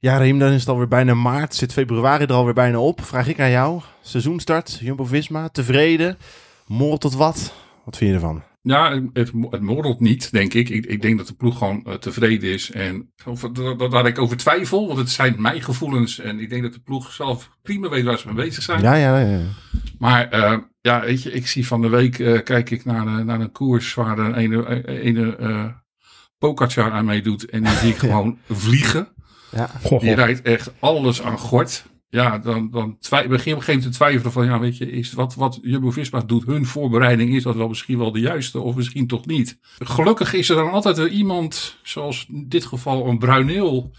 Ja, Reem, dan is het alweer bijna maart. Zit februari er alweer bijna op. Vraag ik aan jou. Seizoenstart, Jumbo-Visma, tevreden? Moord tot wat? Wat vind je ervan? Ja, het, het morrelt niet, denk ik. ik. Ik denk dat de ploeg gewoon eh, tevreden is. En of, dat- dat- daar ik over twijfel, want het zijn mijn gevoelens. En ik denk dat de ploeg zelf prima weet waar ze mee bezig zijn. Ja, ja, ja. Maar eh, ja, weet je, ik zie van de week, eh, kijk ik naar, een- naar een koers waar een ene, eh, ene eh Pogacar aan meedoet. En die zie ik gewoon vliegen. ja. Goh, Die rijdt echt alles aan gort. Ja, dan, dan twi- begin op een gegeven moment te twijfelen van, ja, weet je, is wat, wat Jumbo-Visma doet, hun voorbereiding, is dat wel misschien wel de juiste of misschien toch niet. Gelukkig is er dan altijd weer iemand, zoals in dit geval een Bruineel,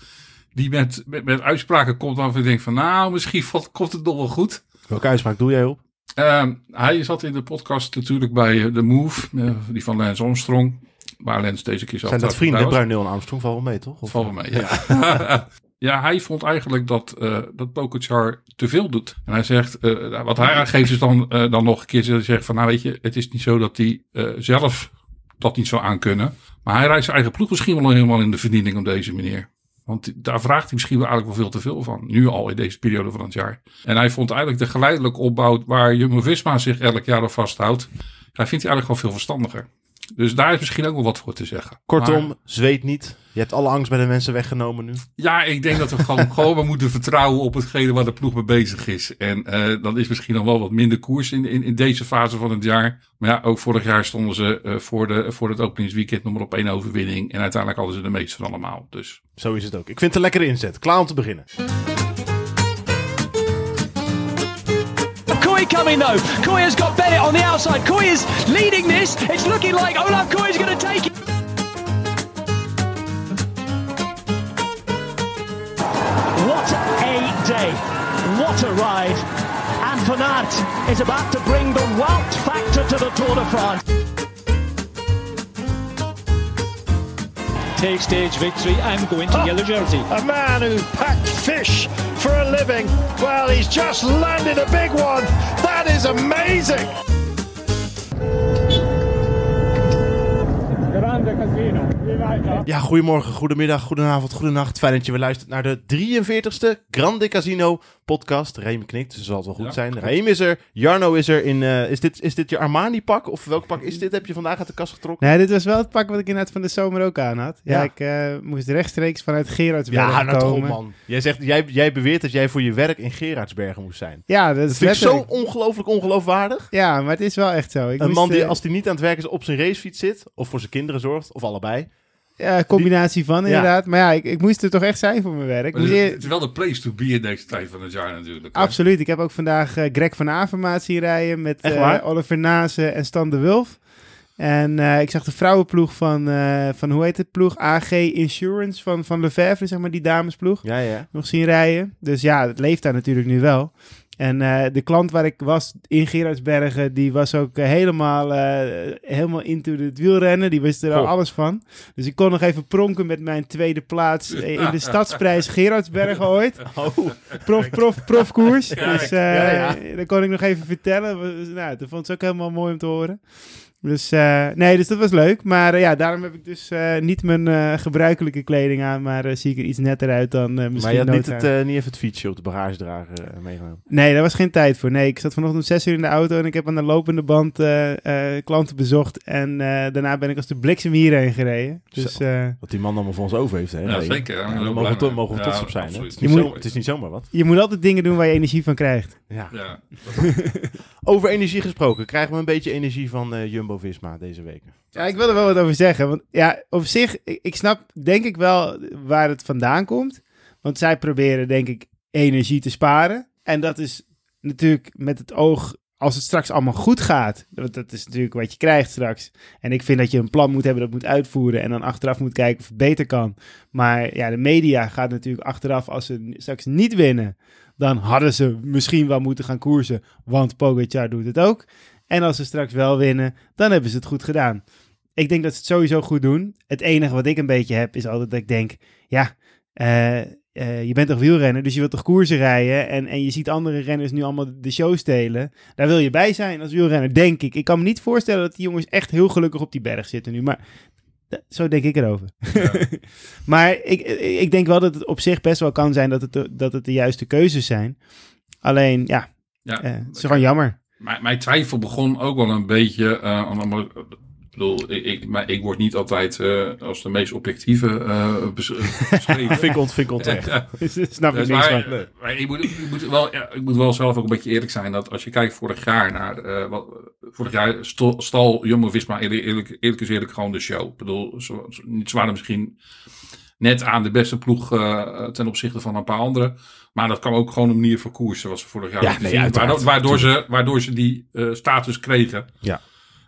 die met, met, met uitspraken komt waarvan je denkt van, nou, misschien valt, komt het nog wel goed. Welke uitspraak doe jij op? Ehm, hij zat in de podcast natuurlijk bij eh, The Move, eh, die van Lance Armstrong. Waar Lens deze keer zat. Zijn dat eh, vrienden? thuis. Bruineel en Armstrong vallen wel mee, toch? Of- Valt wel mee, ja. ja, hij vond eigenlijk dat, eh dat Pogacar te veel doet. En hij zegt, eh, wat hij aangeeft is dan, eh, dan nog een keer te zeggen van... Nou weet je, het is niet zo dat hij eh, zelf dat niet zou aankunnen. Maar hij rijdt zijn eigen ploeg misschien wel helemaal in de verdiening op deze manier. Want daar vraagt hij misschien wel eigenlijk wel veel te veel van. Nu al in deze periode van het jaar. En hij vond eigenlijk de geleidelijke opbouw waar Jumbo-Visma zich elk jaar op vasthoudt. Hij vindt hij eigenlijk gewoon veel verstandiger. Dus daar is misschien ook wel wat voor te zeggen. Kortom, Maar- zweet niet. Je hebt alle angst bij de mensen weggenomen nu. ja, ik denk dat we gewoon, gewoon maar moeten vertrouwen op hetgene waar de ploeg mee bezig is. En eh dan is misschien nog wel wat minder koers in, in, in deze fase van het jaar. Maar ja, ook vorig jaar stonden ze eh, voor, de, voor het openingsweekend nog maar op één overwinning. En uiteindelijk hadden ze de meeste van allemaal. Dus Zo is het ook. Ik vind het een lekkere inzet. Klaar om te beginnen. Coy coming though. Coy has got Bennett on the outside. Coy is leading this. It's looking like Olaf Coy is going to take it. What a day. What a ride. And Fanat is about to bring the Wout factor to the Tour de France. Take stage victory. I'm going to yellow jersey. a man who packed fish for a living. Well, he's just landed a big one. That is amazing. Ja, goedemorgen, goedemiddag, goedenavond, goedenacht. Fijn dat je weer luistert naar de 43ste Grande Casino podcast. Reem knikt, dus zal het wel goed Ja, zijn. Reem is er, Jarno is er. In, eh, is, dit, is dit je Armani-pak of welk pak is dit? Heb je vandaag uit de kast getrokken? Nee, dit was wel het pak wat ik inderdaad van de zomer ook aan had. Ja, Ja. ik eh, moest rechtstreeks vanuit Gerardsbergen ja, komen. nou toch op, man. Jij, zegt, jij, jij beweert dat jij voor je werk in Gerardsbergen moest zijn. Ja, dat is Dat vind ik zo letterlijk- ongelooflijk ongeloofwaardig. Ja, maar het is wel echt zo. Ik Een moest, man die eh, als hij niet aan het werk is op zijn racefiets zit, of voor zijn kinderen zorgt, of allebei. ja, combinatie van inderdaad. Maar ja, ik, ik moest er toch echt zijn voor mijn werk. maar het, Moest is, eer- het is wel de place to be in deze tijd van het jaar natuurlijk. hè. Absoluut. Ik heb ook vandaag eh, Greg van Avermaat zien rijden met Echt eh, waar? Oliver Nase en Stan de Wulf. En eh, ik zag de vrouwenploeg van, eh, van, hoe heet het ploeg? AG Insurance van, van Lefebvre, zeg maar, die damesploeg. Ja, ja. nog zien rijden. Dus ja, het leeft daar natuurlijk nu wel. En eh, de klant waar ik was in Gerardsbergen, die was ook eh, helemaal, eh, helemaal into het wielrennen. Die wist er al Goh. alles van. Dus ik kon nog even pronken met mijn tweede plaats eh, in de stadsprijs Gerardsbergen ooit. Oh. Prof, prof, profkoers. Dus eh Ja, ja. dat kon ik nog even vertellen. Dus, Nou, dat vond ze ook helemaal mooi om te horen. Dus eh, nee, dus dat was leuk. Maar eh, ja, daarom heb ik dus eh, niet mijn eh, gebruikelijke kleding aan. Maar eh, zie ik er iets netter uit dan eh, misschien Maar je had niet, noodzaak. het, eh, niet even het fietsje op de bagagedrager eh, meegenomen. Nee, daar was geen tijd voor. Nee, ik zat vanochtend om zes uur in de auto en ik heb aan de lopende band eh, eh, klanten bezocht. En eh, daarna ben ik als de bliksem hierheen gereden. Dus Zo. eh, Wat die man allemaal voor ons over heeft, hè? Ja, Ray? zeker. Ja, Ja, daar ben daar ik ook mogen we, blij to- mee. mogen we Ja, trots op zijn, hè? Het absoluut. is, niet Je zo- moet- het is niet zomaar wat. je moet altijd dingen doen waar je energie van krijgt. Ja. Ja. Over energie gesproken, krijgen we een beetje energie van eh, Jumbo-Visma deze week. Ja, ik wil er wel wat over zeggen. Want ja, op zich, ik, ik snap denk ik wel waar het vandaan komt. Want zij proberen denk ik energie te sparen. En dat is natuurlijk met het oog, als het straks allemaal goed gaat. Want dat is natuurlijk wat je krijgt straks. En ik vind dat je een plan moet hebben dat moet uitvoeren. En dan achteraf moet kijken of het beter kan. Maar ja, de media gaat natuurlijk achteraf, als ze n- straks niet winnen. Dan hadden ze misschien wel moeten gaan koersen. Want Pogacar doet het ook. En als ze straks wel winnen, dan hebben ze het goed gedaan. Ik denk dat ze het sowieso goed doen. Het enige wat ik een beetje heb, is altijd dat ik denk: ja, eh, eh, je bent toch wielrenner, dus je wilt toch koersen rijden. En, en je ziet andere renners nu allemaal de show stelen. Daar wil je bij zijn als wielrenner, denk ik. Ik kan me niet voorstellen dat die jongens echt heel gelukkig op die berg zitten nu. Maar Da- Zo denk ik erover. maar ik, ik ik denk wel dat het op zich best wel kan zijn dat het de, dat het de juiste keuzes zijn. Alleen, ja, Ja, eh, het is gewoon jammer. Mijn, mijn twijfel begon ook wel een beetje. eh, aan allemaal- ik bedoel, ik, ik, maar ik word niet altijd eh, als de meest objectieve eh, bes- beschreven. Vink ont, vink ont, echt. Snap ik Dus niks van. maar, maar ik, moet, ik, moet wel, ja, ik moet wel zelf ook een beetje eerlijk zijn dat als je kijkt vorig jaar naar eh wat, vorig jaar sto- stal Jumbo Visma eerlijk, eerlijk, eerlijk is eerlijk gewoon de show. Ik bedoel, ze, ze- niet- ze waren misschien net aan de beste ploeg eh, ten opzichte van een paar anderen. Maar dat kan ook gewoon een manier van koersen, was vorig jaar Ja, ook te nee, zien. uiteraard. Waardoor, waardoor, ze, waardoor ze die eh, status kregen. Ja.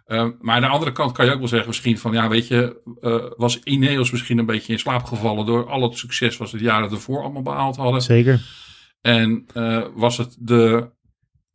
Eh, maar aan de andere kant kan je ook wel zeggen misschien van, ja weet je, eh, was Ineos misschien een beetje in slaap gevallen door al het succes wat ze de jaren ervoor allemaal behaald hadden. Zeker. En eh, was het de,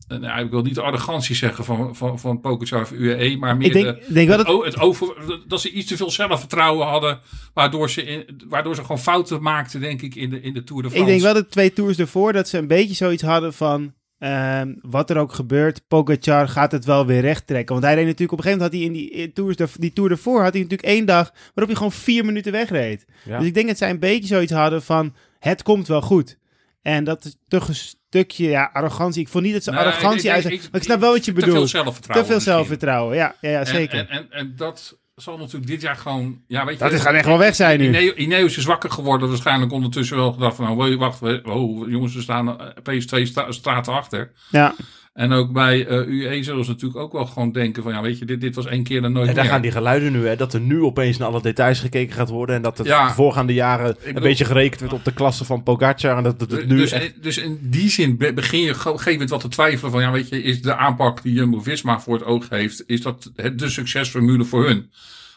eh, nou, ik wil niet de arrogantie zeggen van, van, van Pogacar of UAE, maar meer Ik denk, de, denk wel dat het, o- het over, dat ze iets te veel zelfvertrouwen hadden, waardoor ze, in, waardoor ze gewoon fouten maakten, denk ik, in de, in de Tour de France. Ik denk wel de twee tours ervoor dat ze een beetje zoiets hadden van... ehm, wat er ook gebeurt, Pogacar gaat het wel weer recht trekken. Want hij reed natuurlijk op een gegeven moment had hij in die, eh, tours, daar- die tour ervoor... had hij natuurlijk één dag waarop hij gewoon vier minuten wegreed. Ja. Dus ik denk dat zij een beetje zoiets hadden van... het komt wel goed. En dat is toch een stukje ja, arrogantie. Ik vond niet dat ze Nee, arrogantie ik- ik- uit... ik- maar ik snap wel wat je Te veel bedoelt. zelfvertrouwen. Te veel misschien. zelfvertrouwen, ja, ja, ja En- zeker. En, en, en dat zal natuurlijk dit jaar gewoon, ja weet je. dat is, gaat echt wel weg zijn nu. Ineo- Ineos is wakker geworden. Waarschijnlijk ondertussen wel gedacht van... Nou, wait, wacht, we- oh, jongens, we staan eh, opeens twee sta- straten achter. Ja, En ook bij eh UE zullen ze natuurlijk ook wel gewoon denken van... Ja, weet je, dit, dit was één keer en nooit En daar meer. gaan die geluiden nu, hè, dat er nu opeens naar alle details gekeken gaat worden. En dat het Ja. de voorgaande jaren een bedoel- beetje gerekend werd op de klasse van Pogacar. En dat dat het nu dus, echt... dus in die zin be- begin je op een gegeven moment wat te twijfelen van... Ja, weet je, is de aanpak die Jumbo-Visma voor het oog heeft... Is dat het, de succesformule voor hun?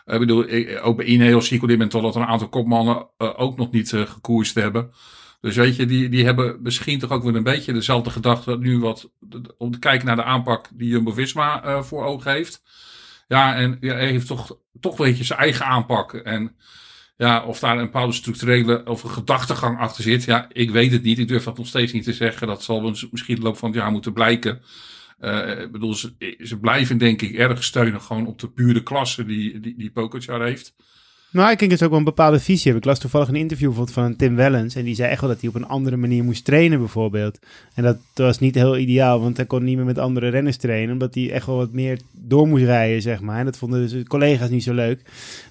Eh, Ik bedoel, ik- ook bij Ineos zie ik op dit moment al dat een aantal kopmannen eh, ook nog niet eh, gekoerst hebben. Dus weet je, die, die hebben misschien toch ook weer een beetje dezelfde gedachte nu wat om te kijken naar de aanpak die Jumbo Visma eh, voor ogen heeft. Ja, en ja, hij heeft toch, toch een beetje zijn eigen aanpak. En ja, of daar een bepaalde structurele of een gedachtegang achter zit, ja, ik weet het niet. Ik durf dat nog steeds niet te zeggen. Dat zal ons misschien in de loop van het jaar moeten blijken. Eh, ik bedoel, ze, ze blijven denk ik erg steunen gewoon op de pure klasse die, die, die Pogacar heeft. Nou, ik denk dat ze ook wel een bepaalde visie hebben. Ik las toevallig een interview bijvoorbeeld van een Tim Wellens. En die zei echt wel dat hij op een andere manier moest trainen, bijvoorbeeld. En dat was niet heel ideaal, want hij kon niet meer met andere renners trainen. Omdat hij echt wel wat meer door moest rijden, zeg maar. En dat vonden zijn collega's niet zo leuk.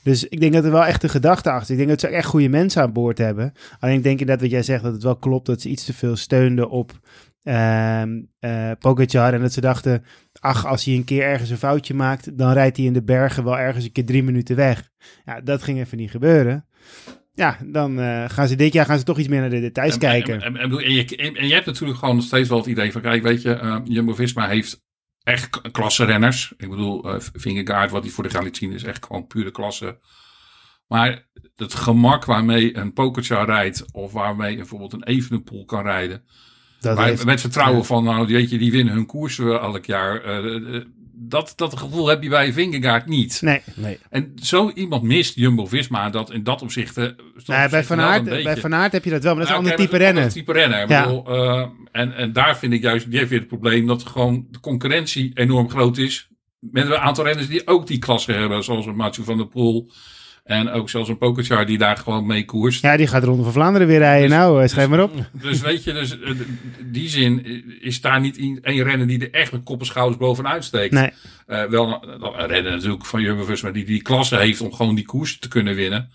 Dus ik denk dat er wel echt een gedachte achter zit. Ik denk dat ze ook echt goede mensen aan boord hebben. Alleen ik denk inderdaad wat jij zegt, dat het wel klopt dat ze iets te veel steunden op ehm eh, Pogacar. En dat ze dachten, ach, als hij een keer ergens een foutje maakt, dan rijdt hij in de bergen wel ergens een keer drie minuten weg. Ja, dat ging even niet gebeuren. Ja, dan eh, gaan ze dit jaar gaan ze toch iets meer naar de details En- kijken. En, en, en, bedoel, en je, en, en je hebt natuurlijk gewoon nog steeds wel het idee van, kijk, weet je, eh, Jumbo-Visma heeft echt k- klasse renners. Ik bedoel, eh Vingegaard, wat hij voor de gaan liet zien, is echt gewoon pure klasse. Maar het gemak waarmee een Pokerchar rijdt, of waarmee bijvoorbeeld een Evenepoel kan rijden, dat maar heeft- met vertrouwen ja. van, nou, weet je, die winnen hun koers eh, elk jaar. Eh, eh, dat, dat gevoel heb je bij Vingegaard niet. Nee, Nou, En zo iemand mist Jumbo-Visma dat in dat opzicht... eh, is dat nee bij, opzicht van wel Aert, een bij beetje- Van Aert heb je dat wel, maar dat is ja, een ander oké, type maar Nou, dat is renner. een ander type renner. Ik Ja. bedoel, eh, en, en daar vind ik juist, die heeft weer het probleem dat gewoon de concurrentie enorm groot is. Met een aantal renners die ook die klasse hebben, zoals een Mathieu van der Poel. En ook zelfs een Pokerchar die daar gewoon mee koerst. Ja, die gaat Ronde van Vlaanderen weer rijden. Dus- nou, eh, schrijf maar op. Dus weet je, dus, eh, in die zin is daar niet i- één renner die er echt met kop en schouders bovenuit steekt. Nee. Eh, wel een- een renner natuurlijk van Jumbo-Visma die die klasse heeft om gewoon die koers te kunnen winnen.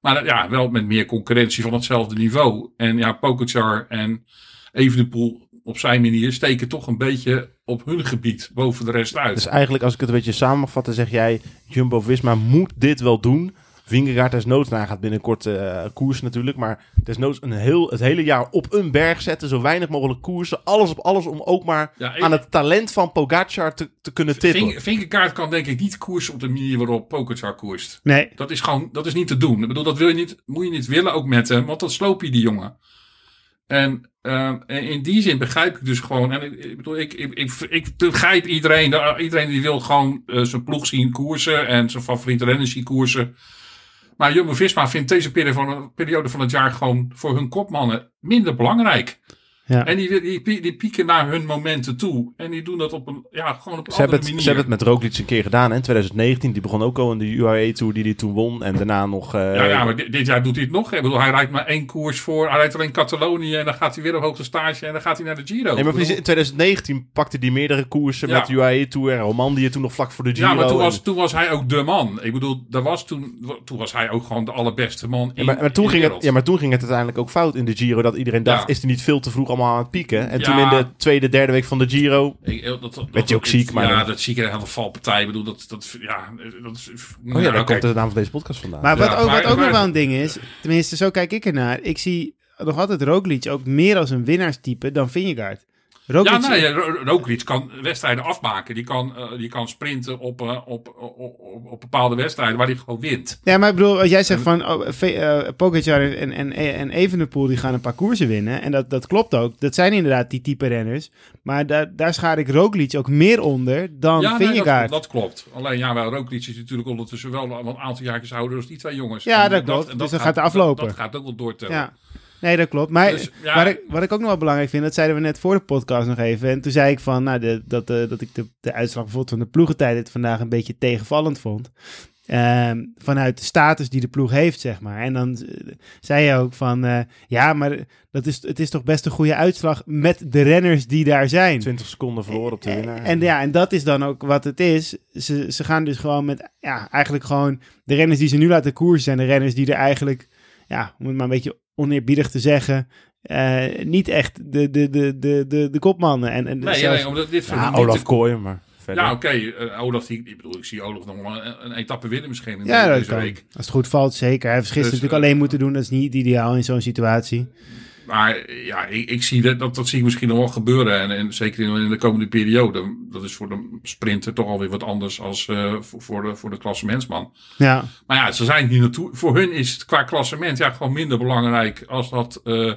Maar eh, ja, wel met meer concurrentie van hetzelfde niveau. En ja, Pogacar en Evenepoel op zijn manier steken toch een beetje op hun gebied boven de rest uit. Dus eigenlijk, als ik het een beetje samenvat, dan zeg jij... Jumbo-Visma moet dit wel doen. Vingegaard desnoods, nou hij gaat binnenkort eh, koers natuurlijk. Maar desnoods een heel, het hele jaar op een berg zetten. Zo weinig mogelijk koersen. Alles op alles om ook maar Ja, ik- aan het talent van Pogacar te, te kunnen tippen. Vink- Vinkegaard kan denk ik niet koersen op de manier waarop Pogacar koerst. Nee, Dat is gewoon, dat is niet te doen. Ik bedoel, dat wil je niet, moet je niet willen ook met hem, want dan sloop je die jongen. En ehm, en in die zin begrijp ik dus gewoon, en ik, ik bedoel, ik, ik, ik, ik begrijp iedereen, daar- iedereen die wil gewoon eh, zijn ploeg zien koersen en zijn favoriete renners zien koersen. Maar Jumbo-Visma vindt deze periode van, periode van het jaar gewoon voor hun kopmannen minder belangrijk. Ja. En die, die, die, die pieken naar hun momenten toe. En die doen dat op een, ja, gewoon op een Ze andere hebben, het, ze manier. hebben het met Roglic een keer gedaan. hè, In 2019, die begon ook al in de UAE Tour die hij toen won. En daarna nog... eh, Ja, ja, maar dit, dit jaar doet hij het nog. Ik bedoel, hij rijdt maar één koers voor. Hij rijdt alleen Catalonië en dan gaat hij weer op hoogte stage en dan gaat hij naar de Giro. Nee, maar Ik bedoel, precies, in 2019 pakte hij meerdere koersen Ja. met UAE E Tour en Romandie toen nog vlak voor de Giro. ja, maar toen en- was, toen was hij ook de man. Ik bedoel, daar was toen, toen was hij ook gewoon de allerbeste man Ja, in, maar, maar toen in de ging het, wereld. ja, maar toen ging het uiteindelijk ook fout in de Giro. Dat iedereen dacht, Ja. is hij niet veel te vroeg allemaal aan het pieken? En Ja. toen in de tweede, derde week van de Giro... Ik- eh, dat, dat, Werd hij ook dat- ziek, maar Ja, dan- dat zieke en een valpartij. Ik bedoel, dat... dat ja, dat is... Oh ja, nou, daar oké. komt de naam van deze podcast vandaan. Maar wat Ja, ook, maar- wat ook maar- nog wel een ding is, tenminste zo kijk ik ernaar. Ik zie nog altijd Roglic ook meer als een winnaarstype dan Vingegaard. Ja, Roglic, nee, Ro- Ro- Roglic kan wedstrijden afmaken. Die kan, eh, die kan sprinten op, eh, op, op, op, op bepaalde wedstrijden waar hij gewoon wint. Ja, maar ik bedoel, als jij zegt van oh, Ve- eh, Pogacar en, en, en Evenepoel die gaan een paar koersen winnen. En dat, dat klopt ook. Dat zijn inderdaad die type renners. Maar daar daar schaar ik Roglic ook meer onder dan Ja, nee, dat, Vingegaard. dat klopt. Alleen ja, maar Roglic is natuurlijk ondertussen wel al een aantal jaartjes ouder dan die twee jongens. Ja, En dat klopt. en Dus dat gaat aflopen. Dat, dat gaat ook wel doortellen. ja. Nee, dat klopt. Maar Dus, ja. waar ik, wat ik ook nog wel belangrijk vind, dat zeiden we net voor de podcast nog even. En toen zei ik van, nou, de, dat, eh, dat ik de, de uitslag bijvoorbeeld van de ploegentijd dit vandaag een beetje tegenvallend vond. Ehm, vanuit de status die de ploeg heeft, zeg maar. En dan eh, zei je ook van, eh, ja, maar dat is, het is toch best een goede uitslag met de renners die daar zijn. 20 seconden verloren op de winnaar. Eh, En ja, en dat is dan ook wat het is. Ze, ze gaan dus gewoon met, ja, eigenlijk gewoon de renners die ze nu laten koersen zijn de renners die er eigenlijk, ja, om het maar een beetje oneerbiedig te zeggen, eh, niet echt de, de, de, de, de, de kopmannen. En, en Nee, Dus zelfs- nee, omdat dit ja, verdient niet Olaf te- Kooi, maar verder. Ja, oké. eh, Olaf, die, ik bedoel, ik zie Olaf nog wel een, een etappe winnen misschien in ja, dat deze kan. Als week. het goed valt, zeker. Hij heeft gisteren Dus, natuurlijk alleen moeten doen. Dat is niet ideaal in zo'n situatie. Maar eh, ja, ik, ik zie dat, dat, dat zie ik misschien nog wel gebeuren. En, en zeker in, in de komende periode. Dat is voor de sprinter toch alweer wat anders als eh, voor, voor de, voor de klassementsman. Ja, Maar ja, ze zijn hier naartoe. Voor hun is het qua klassement ja, gewoon minder belangrijk als dat eh,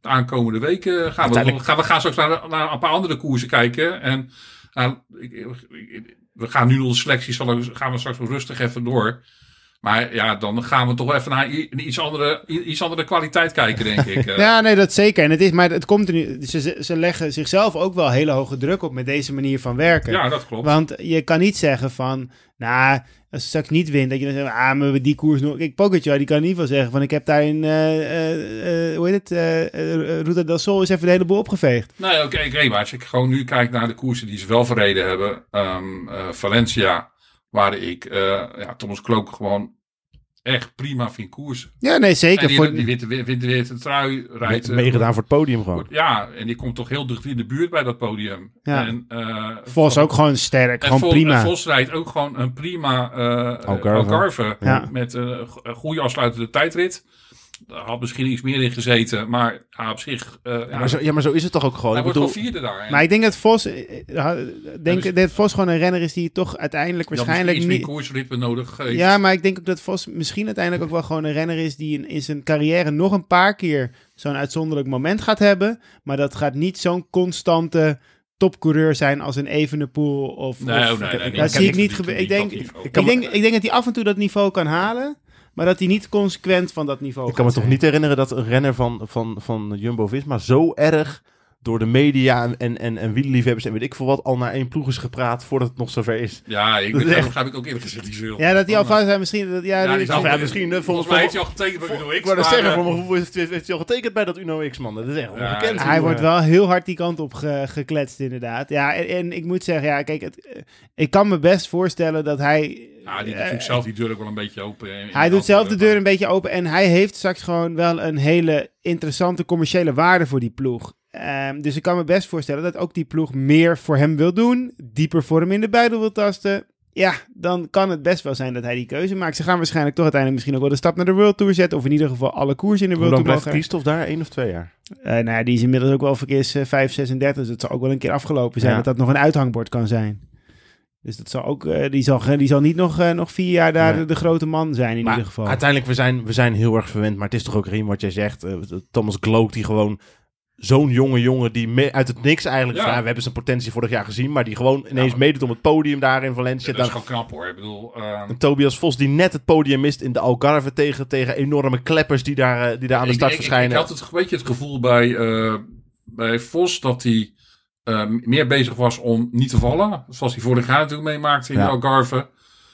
de aankomende weken gaat. We, we gaan. We gaan straks naar, naar een paar andere koersen kijken. En nou, ik- ik- we gaan nu onze selecties zal ik- gaan we straks wel rustig even door. Maar ja, dan gaan we toch even naar i- een iets andere, i- iets andere kwaliteit kijken, denk ik. Eh, Ja, nee, dat zeker. En het is, maar het komt er nu. Ze, ze leggen zichzelf ook wel hele hoge druk op met deze manier van werken. ja, dat klopt. Want je kan niet zeggen van, nou, als ze straks niet wint, dat je dan zegt, ah, maar die koers nog. Kijk, Pogacar, die kan in ieder geval zeggen van, ik heb daar in, eh, eh, eh, hoe heet het, eh, eh, Ruta del Sol is even de hele boel opgeveegd. Nee, oké, oké, maar als ik gewoon nu kijk naar de koersen die ze wel verreden hebben. ehm, eh, Valencia, waar ik eh, ja, Thomas Klook gewoon echt prima vind koersen. Ja, nee, zeker. En die, voor, die witte, witte, witte, trui rijdt. Me- eh, Meegedaan voor het podium gewoon. Ja, en die komt toch heel dicht in de buurt bij dat podium. Ja. En, eh, Vos ook gewoon sterk, en gewoon Vos- prima. en Vos rijdt ook gewoon een prima eh Algarve. Algarve. Ja. Met eh, go- een goede afsluitende tijdrit. Daar had misschien iets meer in gezeten, maar ja, op zich... eh, ja, Ja, maar zo, ja, maar zo is het toch ook gewoon. hij Ik wordt wel bedoel, vierde daar. hè? maar ik denk dat Vos, eh, eh, denk, dus- dat Vos gewoon een renner is die toch uiteindelijk Die had waarschijnlijk misschien iets niet... meer koersritme nodig. heeft. Ja, maar ik denk ook dat Vos misschien uiteindelijk ook wel gewoon een renner is die in, in zijn carrière nog een paar keer zo'n uitzonderlijk moment gaat hebben. Maar dat gaat niet zo'n constante topcoureur zijn als een Evenepoel of... Nee, of- oh, nee, nee, nee. Dat Ik zie ik heb niet die- gebeuren. die- Ik denk, dat niveau. ik, denk, ik denk dat hij af en toe dat niveau kan halen, maar dat hij niet consequent van dat niveau ik kan me gaat toch zijn. niet herinneren dat een renner van, van, van Jumbo-Visma zo erg door de media en, en, en, en wielerliefhebbers en weet ik veel wat al naar één ploeg is gepraat voordat het nog zover is. Ja, ik Dat is begrijp, echt- begrijp ik ook eerlijk gezegd niet veel. Ja, dat hij alvast zijn misschien... Dat, ja, Ja, dat- die zou- Ja, misschien, hè, volgens Volgens mij mij- heeft hij al getekend bij Udo X. Ik wou dat maar, zeggen, eh, voor mijn gevoel heeft, heeft, heeft hij al getekend bij dat Uno X, man. Dat is echt Ja, ongekend. dat- Hij jongen. wordt wel heel hard die kant op ge- gekletst, inderdaad. Ja, en, en ik moet zeggen, ja, kijk, het, eh, ik kan me best voorstellen dat hij. Ja, die doet eh, natuurlijk zelf die deur ook wel een beetje open. eh, in hij doet andere- zelf de deur een beetje open en hij heeft straks gewoon wel een hele interessante commerciële waarde voor die ploeg. Ehm, dus ik kan me best voorstellen dat ook die ploeg meer voor hem wil doen, dieper voor hem in de buidel wil tasten. Ja, dan kan het best wel zijn dat hij die keuze maakt. Ze gaan waarschijnlijk toch uiteindelijk misschien ook wel de stap naar de World Tour zetten. Of in ieder geval alle koers in de Hoe World lang Tour blijft mogen. Christophe daar? Eén of twee jaar? Eh, nou ja, die is inmiddels ook wel verkeers eh, 5, 36. Dus dat zal ook wel een keer afgelopen zijn. Ja. Dat dat nog een uithangbord kan zijn. Dus dat zal ook, eh, die, zal, ge- die zal niet nog, eh, nog vier jaar daar Nee. de, de grote man zijn in Maar ieder geval. uiteindelijk, we zijn, we zijn heel erg verwend. Maar het is toch ook Riem wat jij zegt. eh, Thomas Glook, die gewoon zo'n jonge jongen die me- uit het niks eigenlijk... Ja. van, ja, we hebben zijn potentie vorig jaar gezien. Maar die gewoon ineens maar- meedoet om het podium daar in Valencia. Ja, dat is Dan, gewoon knap hoor. Ik bedoel, eh, en Tobias Vos die net het podium mist in de Algarve tegen, tegen enorme kleppers die daar, eh, die daar aan de ik- start ik, ik- verschijnen. Ik, had het een beetje het gevoel bij, eh, bij Vos dat hij eh, meer bezig was om niet te vallen. Zoals hij vorig jaar natuurlijk meemaakte in Ja. de Algarve.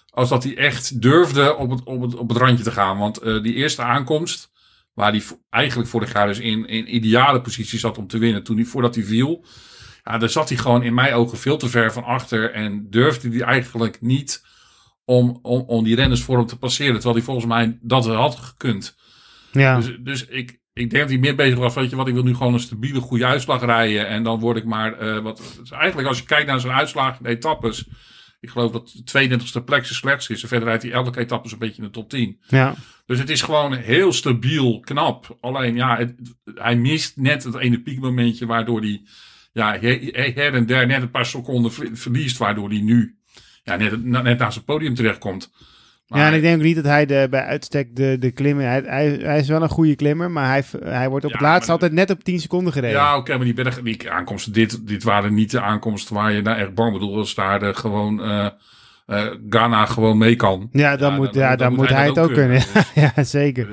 Als dat hij echt durfde op het, op het, op het randje te gaan. Want eh, die eerste aankomst, waar hij vo- eigenlijk vorig jaar dus in, in ideale positie zat om te winnen. Toen hij, voordat hij viel, ja, daar zat hij gewoon in mijn ogen veel te ver van achter. En durfde hij eigenlijk niet om, om, om die renners voor hem te passeren. Terwijl hij volgens mij dat had gekund. Ja. Dus, dus ik, ik denk dat hij meer bezig was. Weet je wat, ik wil nu gewoon een stabiele, goede uitslag rijden. En dan word ik maar. eh, wat, dus eigenlijk, als je kijkt naar zijn uitslag in etappes. Ik geloof dat de 32e plek zijn slechtste is. En verder rijdt hij elke etappe een beetje in de top 10. ja. Dus het is gewoon heel stabiel, knap. Alleen ja, het- hij mist net het ene piekmomentje. Waardoor hij ja, he- he- her en der net een paar seconden ver- verliest. Waardoor hij nu ja, net, net naast het podium terechtkomt. Maar- ja, en ik denk ook niet dat hij de, bij uitstek de, de klimmer... Hij, hij, hij is wel een goede klimmer, maar hij, hij wordt op Ja, het laatst maar- altijd net op 10 seconden gereden. Ja, oké, maar die, berg, die aankomsten, dit, dit waren niet de aankomsten waar je nou echt bang bedoel, als daar eh, gewoon eh, eh, Ghana gewoon mee kan. Ja, dan, Ja, moet, dan- ja, dan dan, moet hij het ook kunnen. ja, zeker.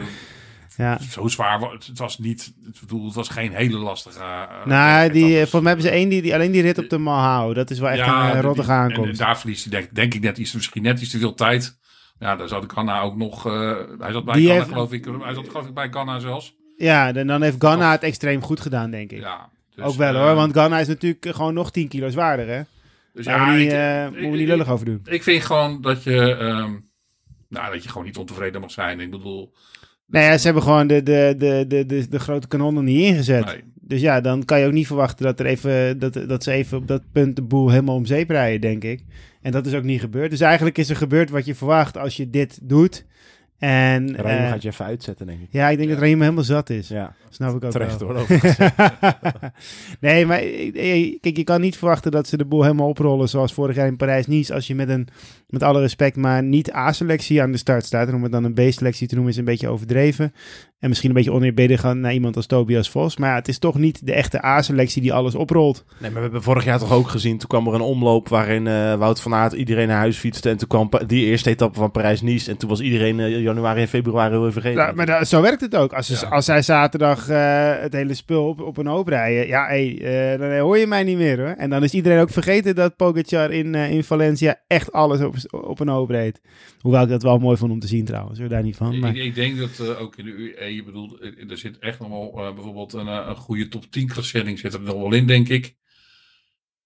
Ja. Zo zwaar, wa- het, het was niet, het, bedoel, het was geen hele lastige... eh, Nou, etappe. die, eh, volgens mij hebben ze één die, die, alleen die rit op de Malhao. Dat is wel echt een die- eh, rottige die- en- aankomst. En, daar verliest hij denk, denk ik net iets, misschien net iets te veel tijd. Ja, daar zat Ghana ook nog... eh, hij zat bij Die Ghana, heeft- geloof ik. eh, Hij zat geloof ik bij Ghana zelfs. ja, en dan heeft Ganna het extreem goed gedaan, denk ik. Ja, dus, ook wel eh, hoor, want Ganna is natuurlijk gewoon nog 10 kilo zwaarder, hè? dus Daar moeten we niet, ik- eh, ik- moeten we niet ik- lullig over doen. Ik vind gewoon dat je, ehm, nou, dat je gewoon niet ontevreden mag zijn. Ik bedoel, Nou ja, ze hebben gewoon de, de, de, de, de, de grote kanonnen niet ingezet. nee. Dus ja, dan kan je ook niet verwachten dat, er even, dat, dat ze even op dat punt de boel helemaal om zeep rijden, denk ik. En dat is ook niet gebeurd. Dus eigenlijk is er gebeurd wat je verwacht als je dit doet. En Raymond eh, gaat je even uitzetten, denk ik. ja, ik denk dat Raymond helemaal zat is. Ja, Snap ik ook terecht wel. hoor. overigens. nee, maar eh, eh, kijk, je kan niet verwachten dat ze de boel helemaal oprollen zoals vorig jaar in Parijs-Nice. Als je met een, met alle respect, maar niet A-selectie aan de start staat. En om het dan een B-selectie te noemen is een beetje overdreven. En misschien een beetje oneerbiedig aan naar iemand als Tobias Vos. Maar ja, het is toch niet de echte A-selectie die alles oprolt. Nee, maar we hebben vorig jaar toch ook gezien. Toen kwam er een omloop waarin eh, Wout van Aert iedereen naar huis fietste. En toen kwam pa- die eerste etappe van Parijs-Nice. En toen was iedereen eh, januari en februari heel even vergeten. Ja, maar da- zo werkt het ook. Als, ze- Ja. als zij zaterdag eh, het hele spul op, op een hoop rijden, ja, hey, eh, dan hoor je mij niet meer hoor. En dan is iedereen ook vergeten dat Pogacar in, eh, in Valencia echt alles op, op een hoop reed. Hoewel ik dat wel mooi vond om te zien trouwens, hoor, daar niet van. Ik, Maar, ik denk dat eh, ook in de UE, je bedoelt, eh, er zit echt nog wel eh, bijvoorbeeld een, eh, een goede top 10 klassering zit er nog wel in, denk ik.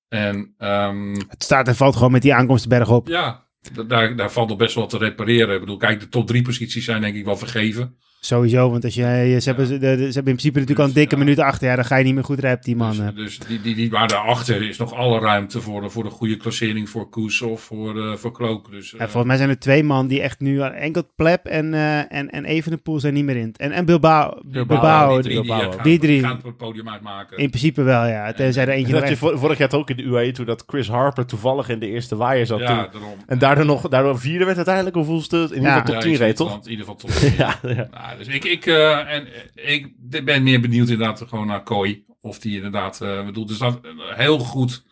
En ehm, het staat en valt gewoon met die aankomst bergop. ja, d- daar, daar valt nog best wel te repareren. Ik bedoel, kijk, de top 3 posities zijn denk ik wel vergeven. Sowieso, want als je, je- ze, hebben, ze, de- ze hebben in principe natuurlijk al een dikke ja. minuut achter. Ja, dan ga je niet meer goed rijden op die man. eh. Dus, hè. dus die, die, die, maar daarachter is nog alle ruimte voor, voor een goede klassering voor Koes of voor, eh, voor Klook. Dus, Ja, eh, volgens mij zijn er twee man die echt nu aan enkel Pleb en, eh en, en Evenepoel zijn niet meer in. En, en Bilbao. Bilbao, Bilbao, die drie, Bilbao. eh, gaan- Die drie. gaan het podium uitmaken. in principe wel, ja. Tenzij er En eentje nog dat je echt- vor- vorig jaar toch ook in de UAE toen dat Chris Harper toevallig in de eerste waaier zat. ja, toen. daarom. En daardoor nog daardoor vierde werd uiteindelijk. Of voelste het? In ieder Ja. geval Ja, top 10 iets reed, in toch? het land, in ieder geval top 10. Ja, ja. Nou, dus ik, ik, eh, en, eh, ik d- ben meer benieuwd inderdaad gewoon naar Kooi. Of die inderdaad, eh bedoelt, dus dat een heel goed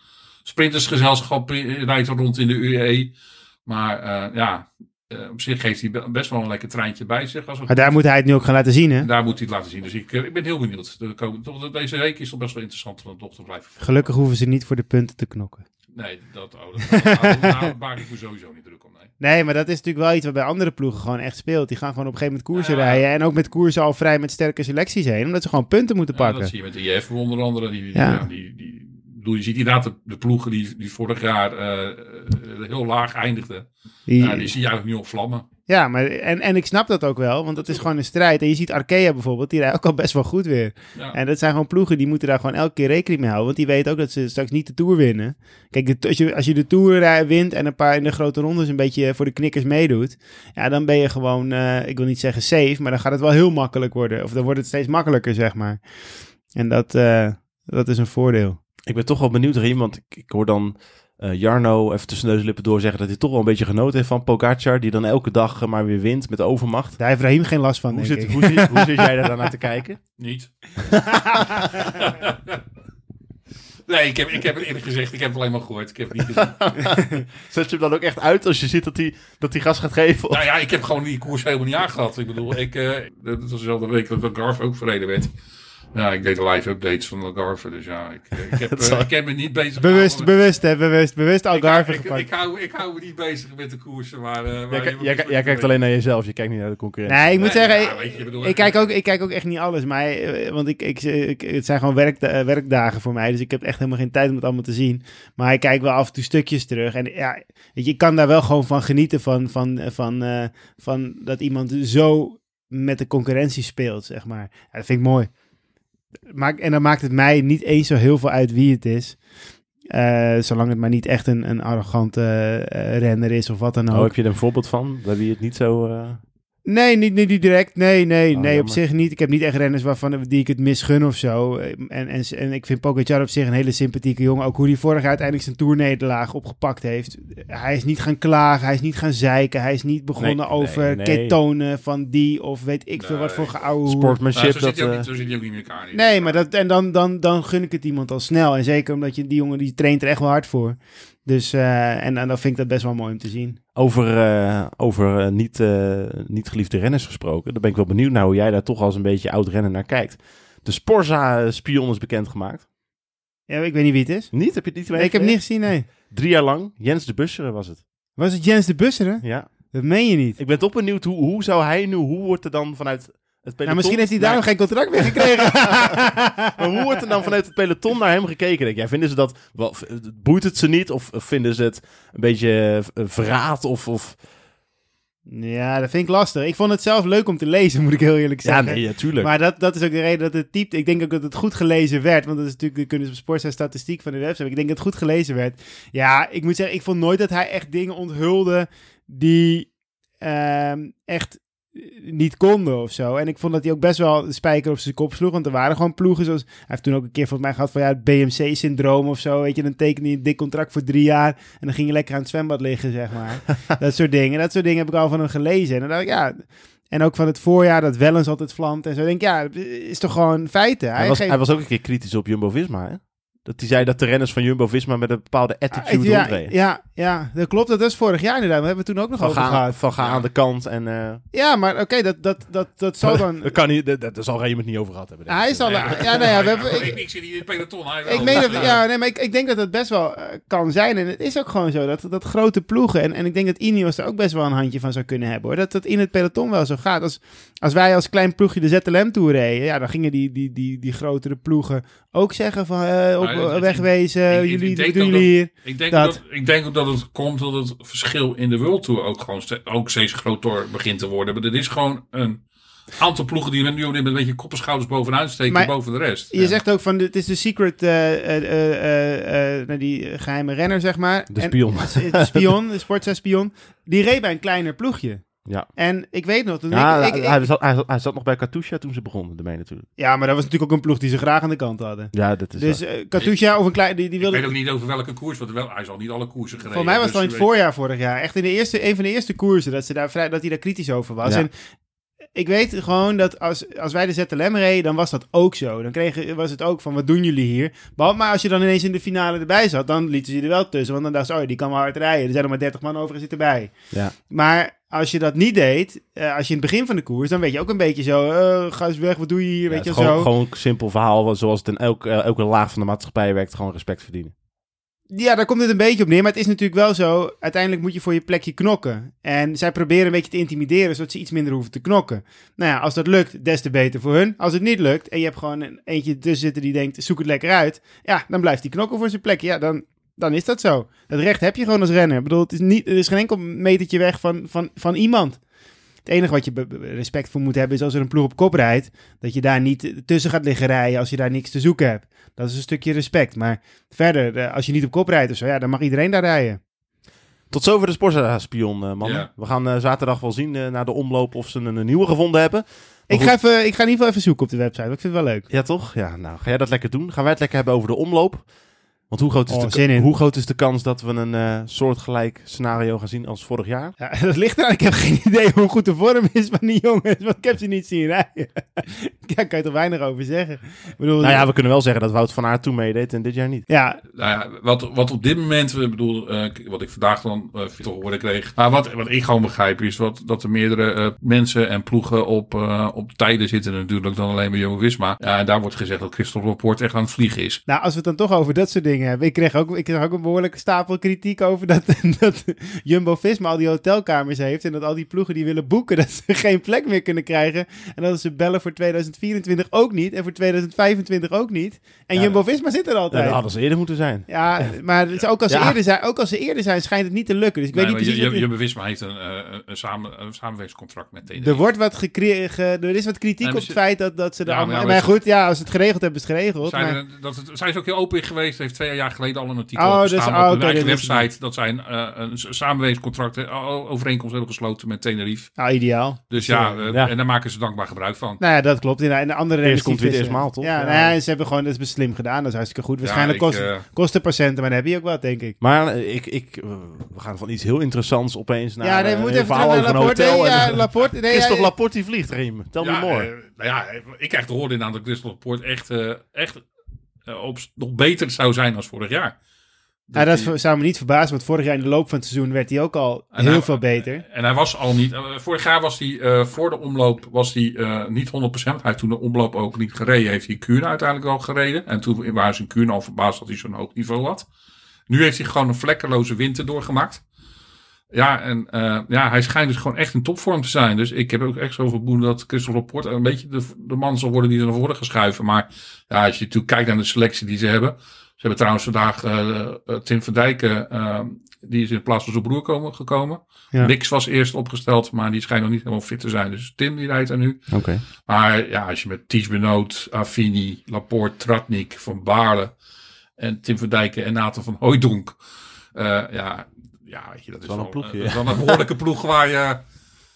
sprintersgezelschap eh, rijdt er rond in de UE. Maar eh, ja, eh, op zich geeft hij be- best wel een lekker treintje bij zich. Als Maar een, daar moet hij het nu ook gaan laten zien, hè? daar moet hij het laten zien. Dus ik, eh, ik ben heel benieuwd. De komende- toch, deze week is toch best wel interessant om dat toch te blijven volgen. Gelukkig hoeven ze niet voor de punten te knokken. Nee, dat, oh, dat daar, daar maak ik me sowieso niet druk om. Nee. Nee, maar dat is natuurlijk wel iets wat bij andere ploegen gewoon echt speelt. Die gaan gewoon op een gegeven moment koersen Ja. rijden. En ook met koersen al vrij met sterke selecties heen. Omdat ze gewoon punten moeten Ja, pakken. dat zie je met de IF onder andere. Die, die- Ja. ja, die, die, ik bedoel, je ziet inderdaad de, de ploegen die, die vorig jaar eh, eh, heel laag eindigden. Die- Ja, die zie je eigenlijk nu op vlammen. ja, maar en, en ik snap dat ook wel. Want het is gewoon een strijd. En je ziet Arkea bijvoorbeeld, die rijdt ook al best wel goed weer. Ja. En dat zijn gewoon ploegen die moeten daar gewoon elke keer rekening mee houden. Want die weten ook dat ze straks niet de Tour winnen. Kijk, de to- als je, als je de Tour rij- wint en een paar in de grote rondes een beetje voor de knikkers meedoet. Ja, dan ben je gewoon, eh, ik wil niet zeggen safe, maar dan gaat het wel heel makkelijk worden. Of dan wordt het steeds makkelijker, zeg maar. En dat, eh, dat is een voordeel. Ik ben toch wel benieuwd, Riem, want ik, ik hoor dan eh, Jarno even tussen neus en lippen door zeggen dat hij toch wel een beetje genoten heeft van Pogacar, die dan elke dag eh, maar weer wint met overmacht. Daar heeft Raheem geen last van, Hoe denk zit, ik. hoe, zit, hoe zit jij daar dan naar te kijken? Niet. nee, ik heb, ik heb het eerlijk gezegd, ik heb het alleen maar gehoord. Ik heb het niet gezien. Zet je hem dan ook echt uit als je ziet dat hij, dat hij gas gaat geven? nou ja, ik heb gewoon die koers helemaal niet aangehad. Ik bedoel, ik, eh, dat was dezelfde week dat Garf ook verreden werd. Ja, ik deed live updates van Algarve, dus ja, ik, ik, heb, eh, ik heb me niet bezig Bewust, gehouden. bewust, hè, bewust, bewust Algarve ik, ik, gepakt. ik, hou, ik hou me niet bezig met de koersen waar... eh, waar Jij, iemand jij- iets jij mee kijkt weet. alleen naar jezelf, je kijkt niet naar de concurrentie. nee, ik moet Nee, zeggen, ja, ik, weet je, ik bedoel, ik kijk ook, ik kijk ook echt niet alles. Maar, eh, want ik, ik, ik- het zijn gewoon werkda- eh, werkdagen voor mij. Dus ik heb echt helemaal geen tijd om het allemaal te zien. Maar ik kijk wel af en toe stukjes terug. En ja, weet je, ik kan daar wel gewoon van genieten. Van, van, eh, van, eh, van dat iemand zo met de concurrentie speelt, zeg maar. Ja, dat vind ik mooi. Maak, en dan maakt het mij niet eens zo heel veel uit wie het is. Eh, zolang het maar niet echt een, een arrogante eh, renner is of wat dan ook. Oh, heb je er een voorbeeld van? Bij wie het niet zo... eh, Nee, niet, niet direct. Nee, nee, Oh, nee, op jammer. zich niet. Ik heb niet echt renners waarvan die ik het misgun of zo. En, en, en ik vind Pogacar op zich een hele sympathieke jongen. Ook hoe hij vorig jaar uiteindelijk zijn toernederlaag opgepakt heeft. Hij is niet gaan klagen, hij is niet gaan zeiken. Hij is niet begonnen Nee, nee, over nee. ketonen van die of weet ik veel wat Nee. voor geouwe hoer. Nou, sportsmanship, zo, dat... zit hij ook eh, niet, zo zit hij ook niet in elkaar. in. Nee, maar dat, en dan, dan, dan gun ik het iemand al snel. En zeker omdat je, die jongen die traint er echt wel hard voor. Dus eh, en, en dan vind ik dat best wel mooi om te zien. Over, eh, over eh, niet, eh, niet geliefde renners gesproken. Dan ben ik wel benieuwd naar hoe jij daar toch als een beetje oud renner naar kijkt. De Sporza-spion is bekendgemaakt. Ja, ik weet niet wie het is. Niet? Heb je het niet Nee, ik heb meegekregen? niet gezien, nee. Drie jaar lang. Jens de Busseren was het. Was het Jens de Busseren? Ja. Dat meen je niet. Ik ben toch benieuwd, hoe, hoe zou hij nu... Hoe wordt er dan vanuit het peloton... Nou, misschien heeft hij daar nog naar- geen contract meer gekregen. Maar hoe wordt er dan vanuit het peloton naar hem gekeken? Denk jij, vinden ze dat... Wel, v- boeit het ze niet? Of vinden ze het een beetje eh, verraad? Of... of ja, dat vind ik lastig. Ik vond het zelf leuk om te lezen, moet ik heel eerlijk ja, zeggen. nee, natuurlijk. Maar dat, dat is ook de reden dat het typte. Ik denk ook dat het goed gelezen werd. Want dat is natuurlijk de kunst op sport zijn statistiek van de website. Ik denk dat het goed gelezen werd. Ja, ik moet zeggen, ik vond nooit dat hij echt dingen onthulde die ehm, echt eh, niet konden of zo. En ik vond dat hij ook best wel de spijker op zijn kop sloeg. Want er waren gewoon ploegen zoals... Hij heeft toen ook een keer volgens mij gehad van ja, het BMC-syndroom of zo. Weet je, dan tekende hij een dik contract voor drie jaar. En dan ging je lekker aan het zwembad liggen, zeg maar. dat soort dingen. Dat soort dingen heb ik al van hem gelezen. En dan dacht ik, ja... En ook van het voorjaar dat Wellens altijd vlamt en zo. Ik Denk ik, ja, het is toch gewoon feiten. Hij, Hij was, geeft- hij was ook een keer kritisch op Jumbo-Visma, hè? Dat hij zei dat de renners van Jumbo-Visma met een bepaalde attitude Ah, ja, rondreden. ja, ja, dat klopt. Dat was vorig jaar inderdaad. We hebben het toen ook nog Van over ga, gehad. van ga aan de kant en... eh, Ja, maar oké, dat, dat, dat, dat zal dan... dat kan niet, dat, dat, daar zal Raymond niet over gehad hebben. denk ik. Hij is dan... Nee, Ja, maar- nou ja, we Ja, hebben... ik, Ik, ik zit hier in het peloton. hij wel. ik meen dat... Ja, nee, maar ik, ik denk dat dat best wel eh, kan zijn. En het is ook gewoon zo, dat, dat grote ploegen... En, en ik denk dat Ineos er ook best wel een handje van zou kunnen hebben, hoor. Dat dat in het peloton wel zo gaat. Als, als wij als klein ploegje de ZLM Tour reden... Ja, dan gingen die, die, die, die grotere ploegen ook zeggen van... eh, op, Maar het- het- wegwezen, ik- ik- ik jullie denk wat doen ook jullie hier. Ik denk Dat- dat. ik denk ook dat het komt dat het verschil in de World Tour ook gewoon ste- ook steeds groter begint te worden. Maar er is gewoon een aantal ploegen die er nu op dit moment een beetje kop en schouders bovenuit steken Maar- boven de rest. Je zegt ook van, het is de secret, eh, eh, eh, eh, eh, nou, die geheime renner, zeg maar. De En- spion. de spion, de sportsespion. Die reed bij een kleiner ploegje. Ja. En Ah, ik weet nog, toen Ja, ik, ik, ik- hij, zat, hij, zat, hij zat nog bij Katusha toen ze begonnen, ermee natuurlijk. ja, maar dat was natuurlijk ook een ploeg die ze graag aan de kant hadden. Ja, dat is Dus eh, Katusha of een klein, die, die Ik wilde... weet ook niet over welke koers, want wel, hij zal niet alle koersen gereden. Voor mij was het dus al in het je weet- voorjaar vorig jaar. Echt in de eerste, een van de eerste koersen dat, ze daar vrij, dat hij daar kritisch over was. Ja. En ik weet gewoon dat als, als wij de ZLM reden, dan was dat ook zo. Dan kregen, was het ook van, wat doen jullie hier? Behalve maar als je dan ineens in de finale erbij zat, dan lieten ze je er wel tussen. Want dan dacht ze, oh, die kan wel hard rijden. Er zijn er maar 30 man over en zit erbij. Ja. Maar als je dat niet deed, eh, als je in het begin van de koers, dan weet je ook een beetje zo, eh, ga eens weg, wat doe je hier? Ja, weet je het wel is zo. gewoon, gewoon een simpel verhaal, zoals het in elke, eh, elke laag van de maatschappij werkt, gewoon respect verdienen. Ja, daar komt het een beetje op neer. Maar het is natuurlijk wel zo. Uiteindelijk moet je voor je plekje knokken. En zij proberen een beetje te intimideren, zodat ze iets minder hoeven te knokken. Nou ja, als dat lukt, des te beter voor hun. Als het niet lukt en je hebt gewoon een eentje tussen zitten die denkt, zoek het lekker uit. Ja, dan blijft die knokken voor zijn plekje. Ja, dan, dan is dat zo. Dat recht heb je gewoon als renner. Ik bedoel, het is niet, er is geen enkel metertje weg van, van, van iemand. Het enige wat je be- be- respect voor moet hebben is als er een ploeg op kop rijdt, dat je daar niet tussen gaat liggen rijden als je daar niks te zoeken hebt. Dat is een stukje respect. Maar verder, eh, als je niet op kop rijdt of zo, ja, dan mag iedereen daar rijden. Tot zover de Sporza-spion, eh, mannen. Ja. We gaan eh, zaterdag wel zien eh, na de omloop of ze een, een nieuwe gevonden hebben. Maar Ik ga, even, ik ga in ieder geval even zoeken op de website, want ik vind het wel leuk. Ja, toch? Ja, nou, ga jij dat lekker doen? Gaan wij het lekker hebben over de omloop? Want hoe groot, is Oh, zin de, in. hoe groot is de kans dat we een eh, soortgelijk scenario gaan zien als vorig jaar? Ja, dat ligt eraan. Ik heb geen idee hoe goed de vorm is van die jongens. Want ik heb ze niet zien rijden. Ja, Daar kan je toch weinig over zeggen. Ik bedoel, Nou ja, we kunnen wel zeggen dat Wout van Aert toen meedeed en dit jaar niet. ja, Nou ja, wat, wat op dit moment, ik bedoel, eh, k- wat ik vandaag dan eh, te horen kreeg. Maar wat, wat ik gewoon begrijp is wat, dat er meerdere eh, mensen en ploegen op, eh, op tijden zitten natuurlijk dan alleen bij Jumbo Visma. Ja, en daar wordt gezegd dat Christophe Laporte echt aan het vliegen is. Nou, als we het dan toch over dat soort dingen hebben. Ik kreeg ook, ik kreeg ook een behoorlijke stapel kritiek over dat, dat Jumbo-Visma al die hotelkamers heeft. En dat al die ploegen die willen boeken, dat ze geen plek meer kunnen krijgen. En dat ze bellen voor 2024 ook niet. En voor 2025 ook niet. En Jumbo-Visma zit er Ja, altijd. Eh, dat Ja, hadden ze eerder moeten zijn. maar het is ook, als ze Ja. eerder zijn, ook als ze eerder zijn, schijnt het niet te lukken. Dus ik weet Nee, maar niet precies... Ju- wat- Ju- Jumbo Visma heeft een, eh, een, samen, een samenwerkingscontract met TD. er, wordt wat gekre- ge- er is wat kritiek Nee, maar op ze- het feit dat, dat ze er Ja, maar allemaal... ja, Maar, maar ze- goed, ja, als ze het geregeld hebben, is het geregeld. Zijn, maar- er- dat het, zijn ze ook heel open in geweest. Heeft twee jaar geleden al een artikel Oh, oh, dus- staan oh, op hun oké, eigen dit is- website. Dat zijn eh, een s- samenwerkingscontract, eh, o- overeenkomst hebben gesloten met Tenerife. nou, ideaal. Dus ja, eh, Ja. en daar maken ze dankbaar gebruik van. Nou ja, dat klopt. inderdaad. En de andere renners komt die weer vissen. eerst maal, toch? Ja, Ja. nou ja, ze hebben gewoon, dat is slim gedaan. Dat is hartstikke goed. Waarschijnlijk ik, kost, eh, kost de patiënten, maar dan heb je ook wat, denk ik. Maar eh, ik, ik, eh, we gaan van iets heel interessants opeens naar ja, nee, eh, we moeten een even terug verhaal naar over een Laporte. hotel. Nee, en- ja, Laporte. Nee, Christophe ja, Laporte die vliegt, Riem. Tel me ja, more. eh, nou ja, ik krijg te horen inderdaad dat Christophe Laporte echt, eh, echt eh, op, nog beter zou zijn dan vorig jaar. nou, dat die- v- zou me niet verbazen, want vorig jaar in de loop van het seizoen werd hij ook al En heel hij- veel beter. En hij was al niet. eh, vorig jaar was hij eh, voor de omloop was hij, eh, niet 100%. Hij heeft toen de omloop ook niet gereden. Heeft hij in Kuurne uiteindelijk wel gereden. En toen waren ze in Kuurne al verbaasd dat hij zo'n hoog niveau had. Nu heeft hij gewoon een vlekkeloze winter doorgemaakt. Ja, en eh, ja, hij schijnt dus gewoon echt in topvorm te zijn. Dus ik heb ook echt zo vermoeden dat Christophe Laporte een beetje de, de man zal worden die er naar voren gaat schuiven. Maar ja, als je natuurlijk kijkt naar de selectie die ze hebben. Ze hebben trouwens vandaag eh, eh, Tim van Dijk, eh, eh, die is in plaats van zijn broer komen, gekomen. Ja. Mix was eerst opgesteld, maar die schijnt nog niet helemaal fit te zijn. Dus Tim die rijdt er nu. Oké. Maar ja, als je met Ties Benoot, Affini, Laporte, Tratnik, Van Baarle en Tim van Dijken en Nathan van Hooijdonk. eh, ja, ja, weet je, dat is wel wel een een, ploegje, dat is wel een behoorlijke ploeg waar je...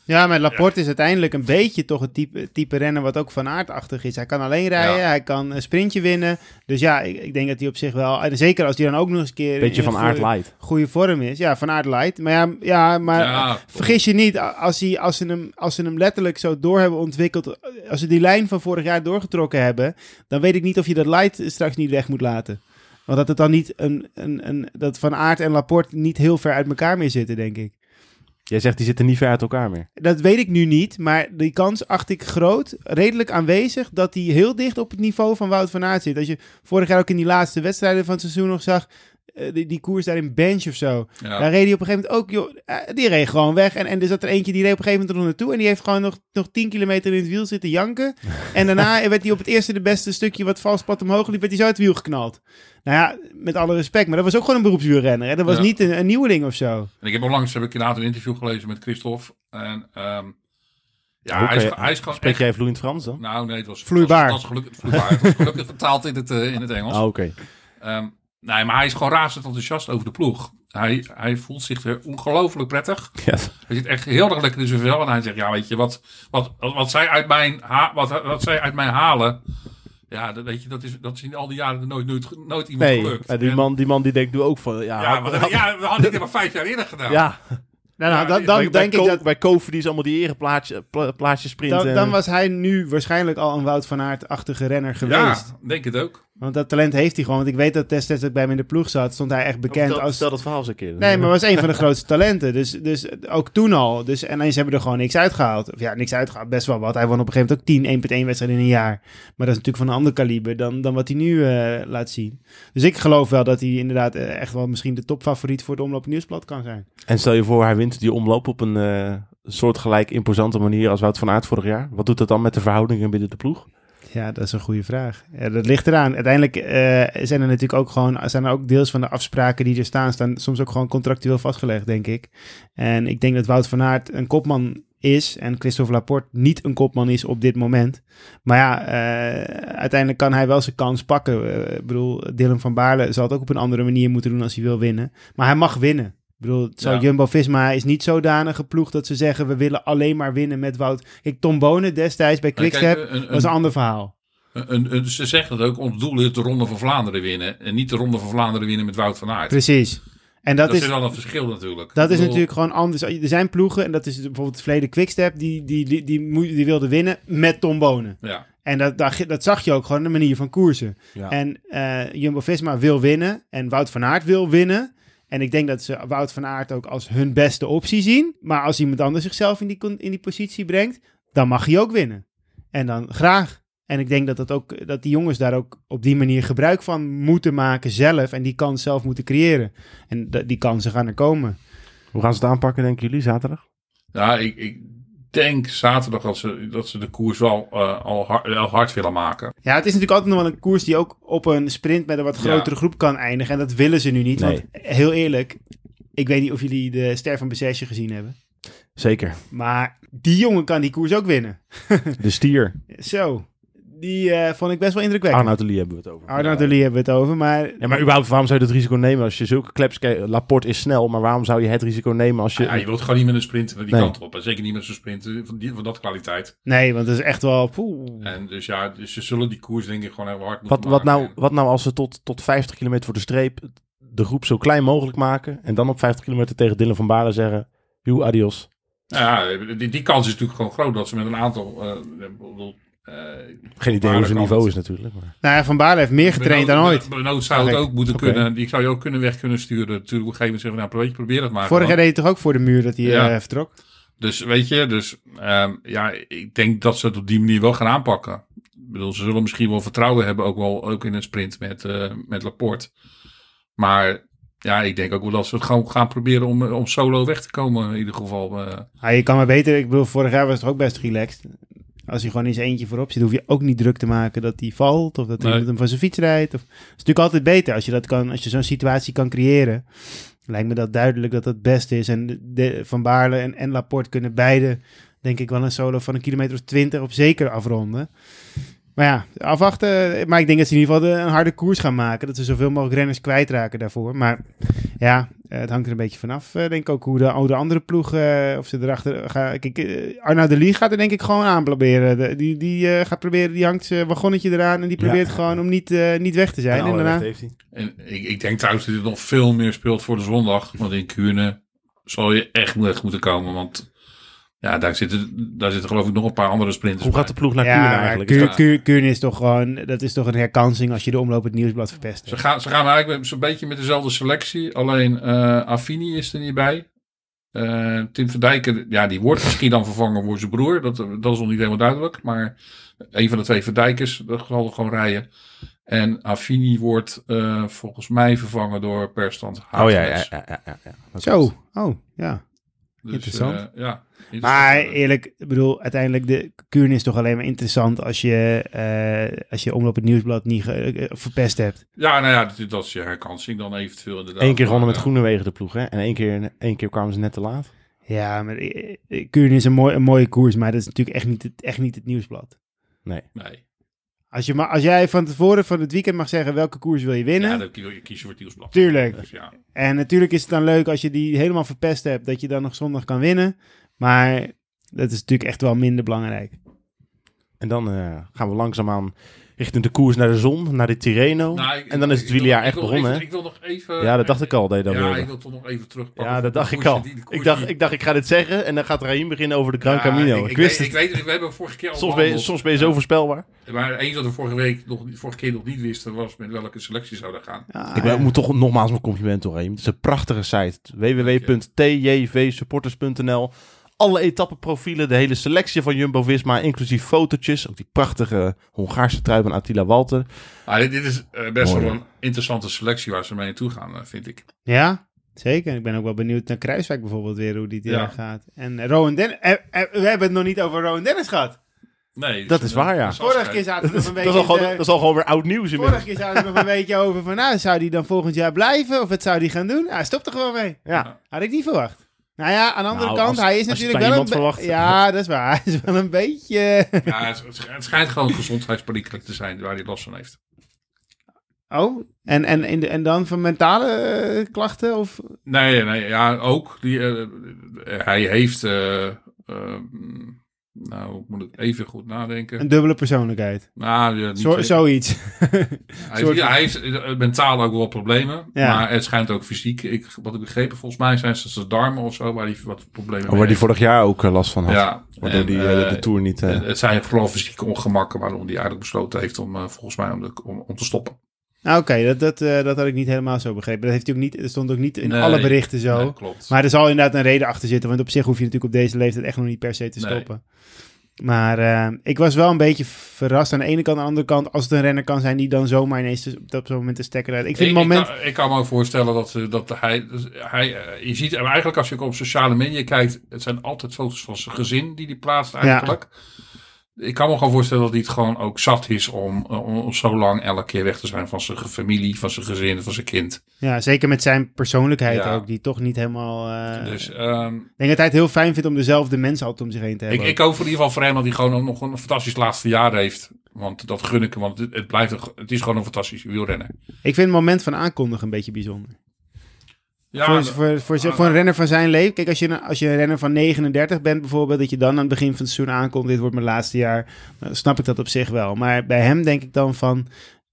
Ja, maar Laporte is uiteindelijk een beetje toch het type, type renner wat ook van aardachtig is. Hij kan alleen rijden, Ja. hij kan een sprintje winnen. Dus ja, ik, ik denk dat hij op zich wel... En zeker als hij dan ook nog eens een keer... Beetje in van Aert goede- light. goede vorm is. Ja, van Aert Light. Maar ja, ja maar Ja, eh, vergis je niet, a- als, hij, als, ze hem, als ze hem letterlijk zo door hebben ontwikkeld, eh, als ze die lijn van vorig jaar doorgetrokken hebben, dan weet ik niet of je dat Light eh, straks niet weg moet laten. Want dat het dan niet een, een, een dat Van Aert en Laporte niet heel ver uit elkaar meer zitten, denk ik. Jij zegt die zitten niet ver uit elkaar meer. Dat weet ik nu niet, maar die kans acht ik groot, redelijk aanwezig, dat hij heel dicht op het niveau van Wout van Aert zit. Als je vorig jaar ook in die laatste wedstrijden van het seizoen nog zag, eh, die, die koers daar in bench of zo. Ja. Daar reed hij op een gegeven moment ook, joh, eh, die reed gewoon weg. En, en er zat er eentje, die reed op een gegeven moment er nog naartoe. En die heeft gewoon nog, nog 10 kilometer in het wiel zitten janken. En daarna werd hij op het eerste de beste stukje wat vals pad omhoog liep, werd hij zo uit het wiel geknald. Nou ja, met alle respect, maar dat was ook gewoon een beroepswielrenner. Hè? Dat was Ja. niet een, een nieuweling of zo. En ik heb onlangs heb ik inderdaad een interview gelezen met Christophe. En ehm, ja, Oké, hij, is, ge- hij is gewoon Spreek echt- jij vloeiend Frans dan? Nou nee, het was Vloeibaar. Het was, het was gelukkig, vloeibaar. Het was gelukkig vertaald in het, eh, in het Engels. Ah, Oké. Ehm, nee, maar hij is gewoon razend enthousiast over de ploeg. Hij, hij voelt zich er ongelooflijk prettig. Ja. Hij zit echt heel erg lekker in zijn vel. En hij zegt, ja, weet je, wat, wat, wat, wat zij, uit mijn ha- wat, wat zij uit mij halen... Ja, dat, weet je, dat is, dat is in al die jaren nooit, nooit, nooit iemand Nee, gelukt. en die En- man, die man die denkt nu ook van... Ja, ja, maar, ja, we hadden dit maar vijf jaar eerder gedaan. ja. Nou, nou, Ja, dan, die- dan bij, bij denk ik Ko- dat... Bij Kofi die is allemaal die ereplaatje pla, plaatje sprinten. Dan, dan was hij nu waarschijnlijk al een Wout van Aert-achtige renner geweest. Ja, denk het ook. Want dat talent heeft hij gewoon. Want ik weet dat destijds dat ik bij hem in de ploeg zat, stond hij echt bekend Vertel, als... vertel dat verhaal eens een keer. Nee, maar was een van de grootste talenten. Dus, dus ook toen al. Dus, en eens hebben er gewoon niks uitgehaald. Of ja, niks uitgehaald. Best wel wat. Hij won op een gegeven moment ook 10 1.1 wedstrijden in een jaar. Maar dat is natuurlijk van een ander kaliber dan, dan wat hij nu eh, laat zien. Dus ik geloof wel dat hij inderdaad eh, echt wel misschien de topfavoriet voor het Omloop Nieuwsblad kan zijn. En stel je voor, hij wint die omloop op een eh, soortgelijk imposante manier als Wout van Aert vorig jaar. Wat doet dat dan met de verhoudingen binnen de ploeg? Ja, dat is een goede vraag. Ja, dat ligt eraan. Uiteindelijk eh, zijn er natuurlijk ook gewoon, zijn er ook deels van de afspraken die er staan, staan soms ook gewoon contractueel vastgelegd, denk ik. En ik denk dat Wout van Aert een kopman is en Christophe Laporte niet een kopman is op dit moment. Maar ja, eh, uiteindelijk kan hij wel zijn kans pakken. Eh, ik bedoel, Dylan van Baarle zal het ook op een andere manier moeten doen als hij wil winnen. Maar hij mag winnen. Ik bedoel, zo Ja. Jumbo-Visma is niet zodanig geploegd dat ze zeggen... we willen alleen maar winnen met Wout. Kijk, Tom Bonen destijds bij Maar kijk, Quickstep een- een- was een ander verhaal. een, een- ze zeggen het ook, ons doel is de Ronde van Vlaanderen winnen. En niet de Ronde van Vlaanderen winnen met Wout van Aert. Precies. En dat, Dat is is, wel een verschil natuurlijk. dat Ik is bedoel, natuurlijk gewoon anders. Er zijn ploegen, en dat is bijvoorbeeld het verleden Quickstep, die, die, die, die, moe- die wilde winnen met Tom Bonen. Ja, En dat, dat, dat zag je ook gewoon in de manier van koersen. Ja. En eh, Jumbo-Visma wil winnen en Wout van Aert wil winnen. En ik denk dat ze Wout van Aert ook als hun beste optie zien. Maar als iemand anders zichzelf in die, con- in die positie brengt, dan mag hij ook winnen. En dan graag. En ik denk dat, dat, ook, dat die jongens daar ook op die manier gebruik van moeten maken zelf. En die kans zelf moeten creëren. En dat- die kansen gaan er komen. Hoe gaan ze het aanpakken, denken jullie, zaterdag? ja Nou, ik, ik denk zaterdag dat ze, dat ze de koers wel, eh, al hard, wel hard willen maken. Ja, het is natuurlijk altijd nog wel een koers die ook op een sprint met een wat grotere groep kan eindigen. En dat willen ze nu niet. Nee. Want heel eerlijk, ik weet niet of jullie de Ster van Bezesje gezien hebben. Zeker. Maar die jongen kan die koers ook winnen. De stier. Zo, die eh, vond ik best wel indrukwekkend. Arnoud de Lee hebben we het over. Arnaud de Lee hebben we het over, maar... Ja, maar überhaupt, waarom zou je dat risico nemen als je zulke kleps... kijkt? Laporte is snel, maar waarom zou je het risico nemen als je... Ja, je wilt gewoon niet met een sprint die Nee. kant op. En zeker niet met zo'n sprint eh, van, die, van dat kwaliteit. Nee, want dat is echt wel... poeh. En dus ja, dus ze zullen die koers denk ik gewoon heel hard moeten Wat, wat, nou, maken. wat nou als ze tot, tot 50 kilometer voor de streep de groep zo klein mogelijk maken... en dan op 50 kilometer tegen Dylan van Baarle zeggen... Joe, adios. Nou Ja, die, die kans is natuurlijk gewoon groot dat ze met een aantal... eh, ik bedoel, eh, Geen idee Baarle hoe zijn kan niveau het. is natuurlijk. Maar... Nou ja, Van Baarle heeft meer getraind dan Benoot- ooit. Benoot zou het Oké. ook moeten Oké. kunnen. Die zou je ook kunnen weg kunnen sturen. Natuurlijk op een gegeven moment zeggen, we, nou, weet je, probeer het maar. Vorig gewoon. jaar deed hij toch ook voor de muur dat hij Ja. eh, vertrok? Dus weet je, dus ehm, ja, ik denk dat ze het op die manier wel gaan aanpakken. Ik bedoel, ze zullen misschien wel vertrouwen hebben, ook wel ook in een sprint met, eh, met Laporte. Maar ja, ik denk ook wel dat ze het gewoon gaan proberen om, eh, om solo weg te komen in ieder geval. eh. Ja, Ah, je kan maar beter. Ik bedoel, vorig jaar was het toch ook best relaxed. Als hij gewoon in zijn eentje voorop zit, hoef je ook niet druk te maken dat hij valt. Of dat Nee. hij met hem van zijn fiets rijdt. Of... Het is natuurlijk altijd beter als je, dat kan, als je zo'n situatie kan creëren. Lijkt me dat duidelijk dat dat het beste is. En de- de, Van Baarle en, en Laporte kunnen beide, denk ik, wel een solo van een kilometer of twintig op zeker afronden. Maar ja, afwachten. Maar ik denk dat ze in ieder geval de- een harde koers gaan maken. Dat ze zoveel mogelijk renners kwijtraken daarvoor. Maar ja, eh, het hangt er een beetje vanaf, eh, denk ik ook, hoe de, hoe de andere ploeg, eh, of ze erachter gaan. Kijk, eh, Arnaud de Lee gaat er denk ik gewoon aan proberen. De- die die eh, gaat proberen, die hangt zijn wagonnetje eraan en die Ja. probeert gewoon om niet, eh, niet weg te zijn. Nou, En, daarna, En ik, ik denk trouwens dat dit nog veel meer speelt voor de zondag. Want in Kuurne zal je echt weg moeten komen. Want ja, daar zitten, daar zitten geloof ik nog een paar andere sprinters Dus Hoe gaat de bij. ploeg naar ja, Kuurne maar eigenlijk? dus Kuur- Is dat- Kuur- Kuurne is toch gewoon, dat is toch een herkansing als je de omloop het nieuwsblad verpest. Ze hebt. gaan, ze gaan eigenlijk met- zo'n beetje met dezelfde selectie. Alleen eh Affini is er niet bij. Eh, Tim van Dijken, ja, die wordt misschien dan vervangen door zijn broer. Dat, dat is nog niet helemaal duidelijk. Maar een van de twee Verdijkers, dat zal gewoon rijden. En Affini wordt eh, volgens mij vervangen door Perstand dat- Oh ja, ja, ja. ja, ja, ja. Dat klopt. Zo, oh, ja. Dus, interessant. eh, ja, Maar interessant. eerlijk, ik bedoel, uiteindelijk, de Kuurne is toch alleen maar interessant als je, eh, als je omloop het nieuwsblad niet ge- eh, verpest hebt. Ja, nou ja, dat, dat is je herkansing dan eventueel inderdaad. Eén keer gewonnen Maar, met Groenewegen de ploeg, hè? En één keer, één keer kwamen ze net te laat. Ja, maar eh, eh, Kuurne is een, mooi, een mooie koers, maar dat is natuurlijk echt niet het, echt niet het nieuwsblad. eh, Nee. Als, je, ma- als jij van tevoren van het weekend mag zeggen welke koers wil je winnen. Ja, dan kies je kies je voor het nieuwsblad. Tuurlijk. Dus ja. En natuurlijk is het dan leuk als je die helemaal verpest hebt, dat je dan nog zondag kan winnen. Maar dat is natuurlijk echt wel minder belangrijk. En dan eh, gaan we langzaamaan richting de koers naar de zon, naar de Tirreno. Nou, ik- en dan is het ik wil- wieljaar ik echt wil begonnen, even- hè? Ik wil nog even... Ja, dat dacht ik al, dat je dat ja, wilde. ik wil toch nog even terugpakken. Ja, dat De dacht ik koersen al. Oh, die- de koersen Ik dacht, die- ik dacht, ik ga dit zeggen en dan gaat Raheem beginnen over de Gran Ja, Camino. Ik, wist weet, het. Ik weet het, we hebben vorige keer al soms, ben je, behandeld. soms ben je zo voorspelbaar. Maar één dat we vorige, week nog, niet- vorige keer nog niet wisten was met welke selectie zouden gaan. Ja, ik ben- moet toch nogmaals mijn compliment door Raheem. Het is een prachtige site. www.tjvsupporters.nl Alle etappenprofielen, de hele selectie van Jumbo-Visma, inclusief fotootjes. Ook die prachtige Hongaarse trui van Attila Walter. Maar dit, dit is eh, best Mooi, wel een interessante selectie waar ze mee naartoe gaan, eh, vind ik. ja, zeker. Ik ben ook wel benieuwd naar Kruiswijk bijvoorbeeld weer, hoe die het Ja. eraan gaat. En eh, Rowan Dennis, eh, eh, we hebben het nog niet over Rowan Dennis gehad. Nee, eh, Dat is waar, ja. Vorige keer zaten we nog een Dat beetje... is, al gewoon, in de- dat is al gewoon weer oud nieuws Vorige inmiddels. keer zaten we nog een beetje over van, nou, zou die dan volgend jaar blijven? Of wat zou die gaan doen? Nou, Hij stopt er gewoon mee. Ja. Had ik niet verwacht. Nou ja, aan de andere Nou, kant, als- hij is als je natuurlijk het bij wel een... iemand verwacht. eh. Ja, dat is waar. Hij is wel een beetje... Ja, het, het sch- het schijnt gewoon gezondheidsperikelen te zijn waar hij last van heeft. Oh, en, en, in de- en dan van mentale eh, klachten? Of... Nee, nee, ja, ook. Die, eh, hij heeft eh, eh, Nou, ik moet het even goed nadenken. Een dubbele persoonlijkheid. nou, ja, niet Zo, zeker. zoiets. hij, soort- heeft, ja, hij heeft eh, mentaal ook wel problemen. Ja. Maar het schijnt ook fysiek. Ik, wat ik begrepen, volgens mij zijn ze zijn darmen of zo waar hij wat problemen Oh, Waar mee die heeft. vorig jaar ook eh, last van had. Ja, Waardoor en, die eh, eh, de Tour niet... eh, Het- Het zijn vooral fysieke ongemakken waarom hij eigenlijk besloten heeft om, eh, volgens mij, om, de- om, om te stoppen. nou, oké, dat, dat, eh, dat had ik niet helemaal zo begrepen. Dat, heeft hij ook niet, dat stond ook niet in Nee, alle berichten zo. Nee, klopt. Maar er zal inderdaad een reden achter zitten. Want op zich hoef je natuurlijk op deze leeftijd echt nog niet per se te Nee. stoppen. Maar eh, ik was wel een beetje verrast aan de ene kant. Aan de andere kant, als het een renner kan zijn die dan zomaar ineens dus op dat moment de stekker uit. Ik vind het moment... Ik, kan, ik kan me ook voorstellen dat, eh, dat hij, dus hij... eh, Je ziet hem eigenlijk als je ook op sociale media kijkt... Het zijn altijd foto's van zijn gezin die hij plaatst eigenlijk. Ik kan me gewoon voorstellen dat hij het gewoon ook zat is... Om, eh, om, om zo lang elke keer weg te zijn van zijn ge- familie, van zijn gezin, van zijn kind. Ja, zeker met zijn persoonlijkheid Ja. ook. Die toch niet helemaal... eh, dus ehm, Ik denk dat hij het heel fijn vindt om dezelfde mensen altijd om zich heen te ik, hebben. ik hoop in ieder geval voor hem dat hij gewoon ook nog een fantastisch laatste jaar heeft... Want dat gun ik hem, want het, het blijft een- het is gewoon een fantastisch wielrenner. Ik vind het moment van aankondigen een beetje bijzonder. Ja, voor, voor, voor, voor een renner van zijn leven. Kijk, als je, een- als je een renner van 39 bent bijvoorbeeld, dat je dan aan het begin van het seizoen aankomt, dit wordt mijn laatste jaar, dan snap ik dat op zich wel. Maar bij hem denk ik dan van,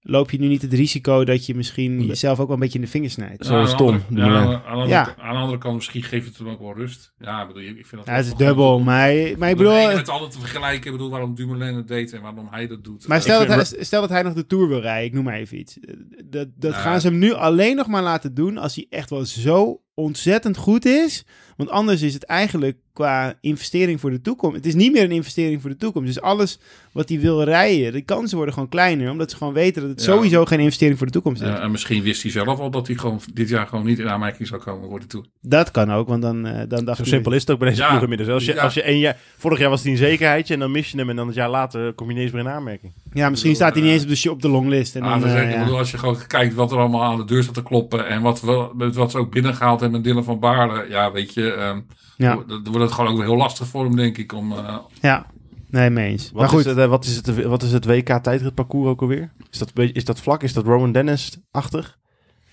loop je nu niet het risico dat je misschien jezelf ook wel een beetje in de vingers snijdt? Zo is aan de Tom, andere- die eh, Ja, man. aan, de andere- Ja. aan de andere kant, misschien geeft het hem ook wel rust. Ja, ik bedoel, ik vind dat Ja, wel het is goed. dubbel, maar, maar ik Om het bedoel... eh, ene met het andere te vergelijken. Ik bedoel, waarom Dumoulin het deed en waarom hij dat doet. Maar Ik stel dat, vind- hij, stel dat hij nog de Tour wil rijden, ik noem maar even iets. Eh, Dat, dat Nou Ja. gaan ze hem nu alleen nog maar laten doen als hij echt wel zo ontzettend goed is. Want anders is het eigenlijk qua investering voor de toekomst. Het is niet meer een investering voor de toekomst. Dus alles wat hij wil rijden, de kansen worden gewoon kleiner. Omdat ze gewoon weten dat Ja. het sowieso geen investering voor de toekomst is. Ja, en misschien wist hij zelf al dat hij gewoon dit jaar gewoon niet in aanmerking zou komen worden toe. Dat kan ook, want dan, eh, dan dacht Zo ik... simpel is het ook bij deze Ja. ploeg inmiddels. Als je, Ja. als je één jaar, vorig jaar was het een zekerheidje en dan mis je hem en dan het jaar later kom je niet eens meer in aanmerking. Ja, misschien staat hij niet eens op de, sh- op de longlist. En Aan dan, te eh, zeggen, ik ja. bedoel, als je gewoon kijkt wat er allemaal aan de deur staat te kloppen. En wat, we, met wat ze ook binnengehaald hebben met Dylan van Baarle. Ja, weet je. ehm, Ja. Dan wordt het gewoon ook weer heel lastig voor hem, denk ik. Om, eh, Ja. nee, mee eens. Wat, maar goed, Is, het, eh, wat, is, het, wat is het WK tijdritparcours ook alweer? Is dat, een beetje- is dat vlak? Is dat Roman Dennis-achtig?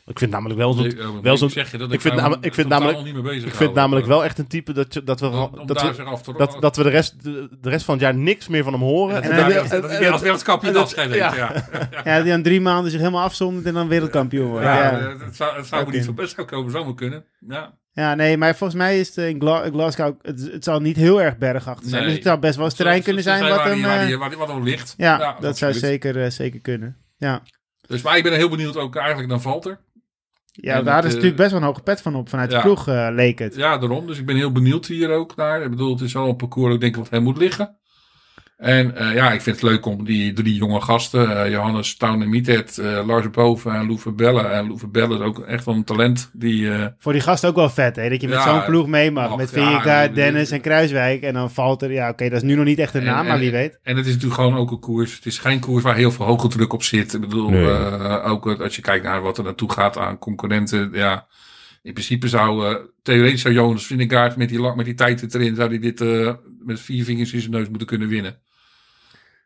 Ik vind namelijk wel zo'n... eh, want wel ik zo'n- zeg je dat ik vind mij namelijk- ik vind totaal namelijk- niet mee bezig Ik vind hou. namelijk wel echt een type dat, je- dat we... Om, om dat daar we zich af te dat, dat we de rest, de, de rest van het jaar niks meer van hem horen. En En dat hij- hij daar- dat hij als wereldkampioen en dat- afscheid ja. neemt, ja. ja, die aan drie maanden zich helemaal afzondert en dan wereldkampioen wordt. Ja, ja. eh, Het zou, het zou me Oké. niet zo best zou komen, zou maar kunnen. Ja. Ja, nee, maar volgens mij is het in Gla- Glasgow, ook- het, het zal niet heel erg bergachtig zijn. Nee. Dus het zou best wel eens terrein Zo- kunnen zo- zijn zo wat waar hem... die- waar eh, die- waar die- wat hem ligt. ja, dat zou absoluut. zeker, eh, zeker kunnen. Ja, Dus, maar ik ben heel benieuwd ook eigenlijk naar Valter. ja En daar dat, is eh, natuurlijk best wel een hoge pet van op vanuit de ja. ploeg, eh, leek het. Ja, daarom. Dus ik ben heel benieuwd hier ook naar. Ik bedoel, het is wel een parcours, ik denk, wat hem moet liggen. En eh, ja, ik vind het leuk om die drie jonge gasten, eh, Johannes Town en Mietet, Lars Boven en Loeve Bellen. En Loeve Bellen is ook echt wel een talent die... eh, Voor die gast ook wel vet, hè, dat je met Ja, zo'n ploeg mee mag. mag, met ja, Vierka, en- Dennis en Kruiswijk. En dan valt er, ja oké, dat is nu nog niet echt een En- naam, Nou, maar en- wie weet. En het is natuurlijk gewoon ook een koers. Het is geen koers waar heel veel hoge druk op zit. Ik bedoel, Nee. eh, ook eh, als je kijkt naar wat er naartoe gaat aan concurrenten. Ja, in principe zou, eh, theoretisch zou Jonas Vindegaard met die, lak- met die tijd erin, zou hij dit eh, met vier vingers in zijn neus moeten kunnen winnen.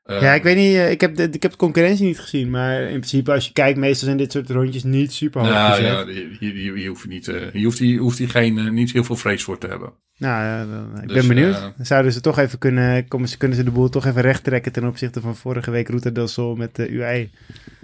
Eh, ja, ik weet niet, eh, ik heb, de, ik heb de concurrentie niet gezien. Maar in principe, als je kijkt, meestal zijn dit soort rondjes niet super hoog nou, gezet. ja, hier, hier, hier hoeft hij niet, eh, hier hoeft hij, hoeft hij geen, eh, niet heel veel vrees voor te hebben. Nou, ja, dan- ik Dus, ben benieuwd. eh, Dan Zouden ze toch even kunnen, komen ze, kunnen ze de boel toch even recht trekken ten opzichte van vorige week Ruta del Sol met eh, de UI?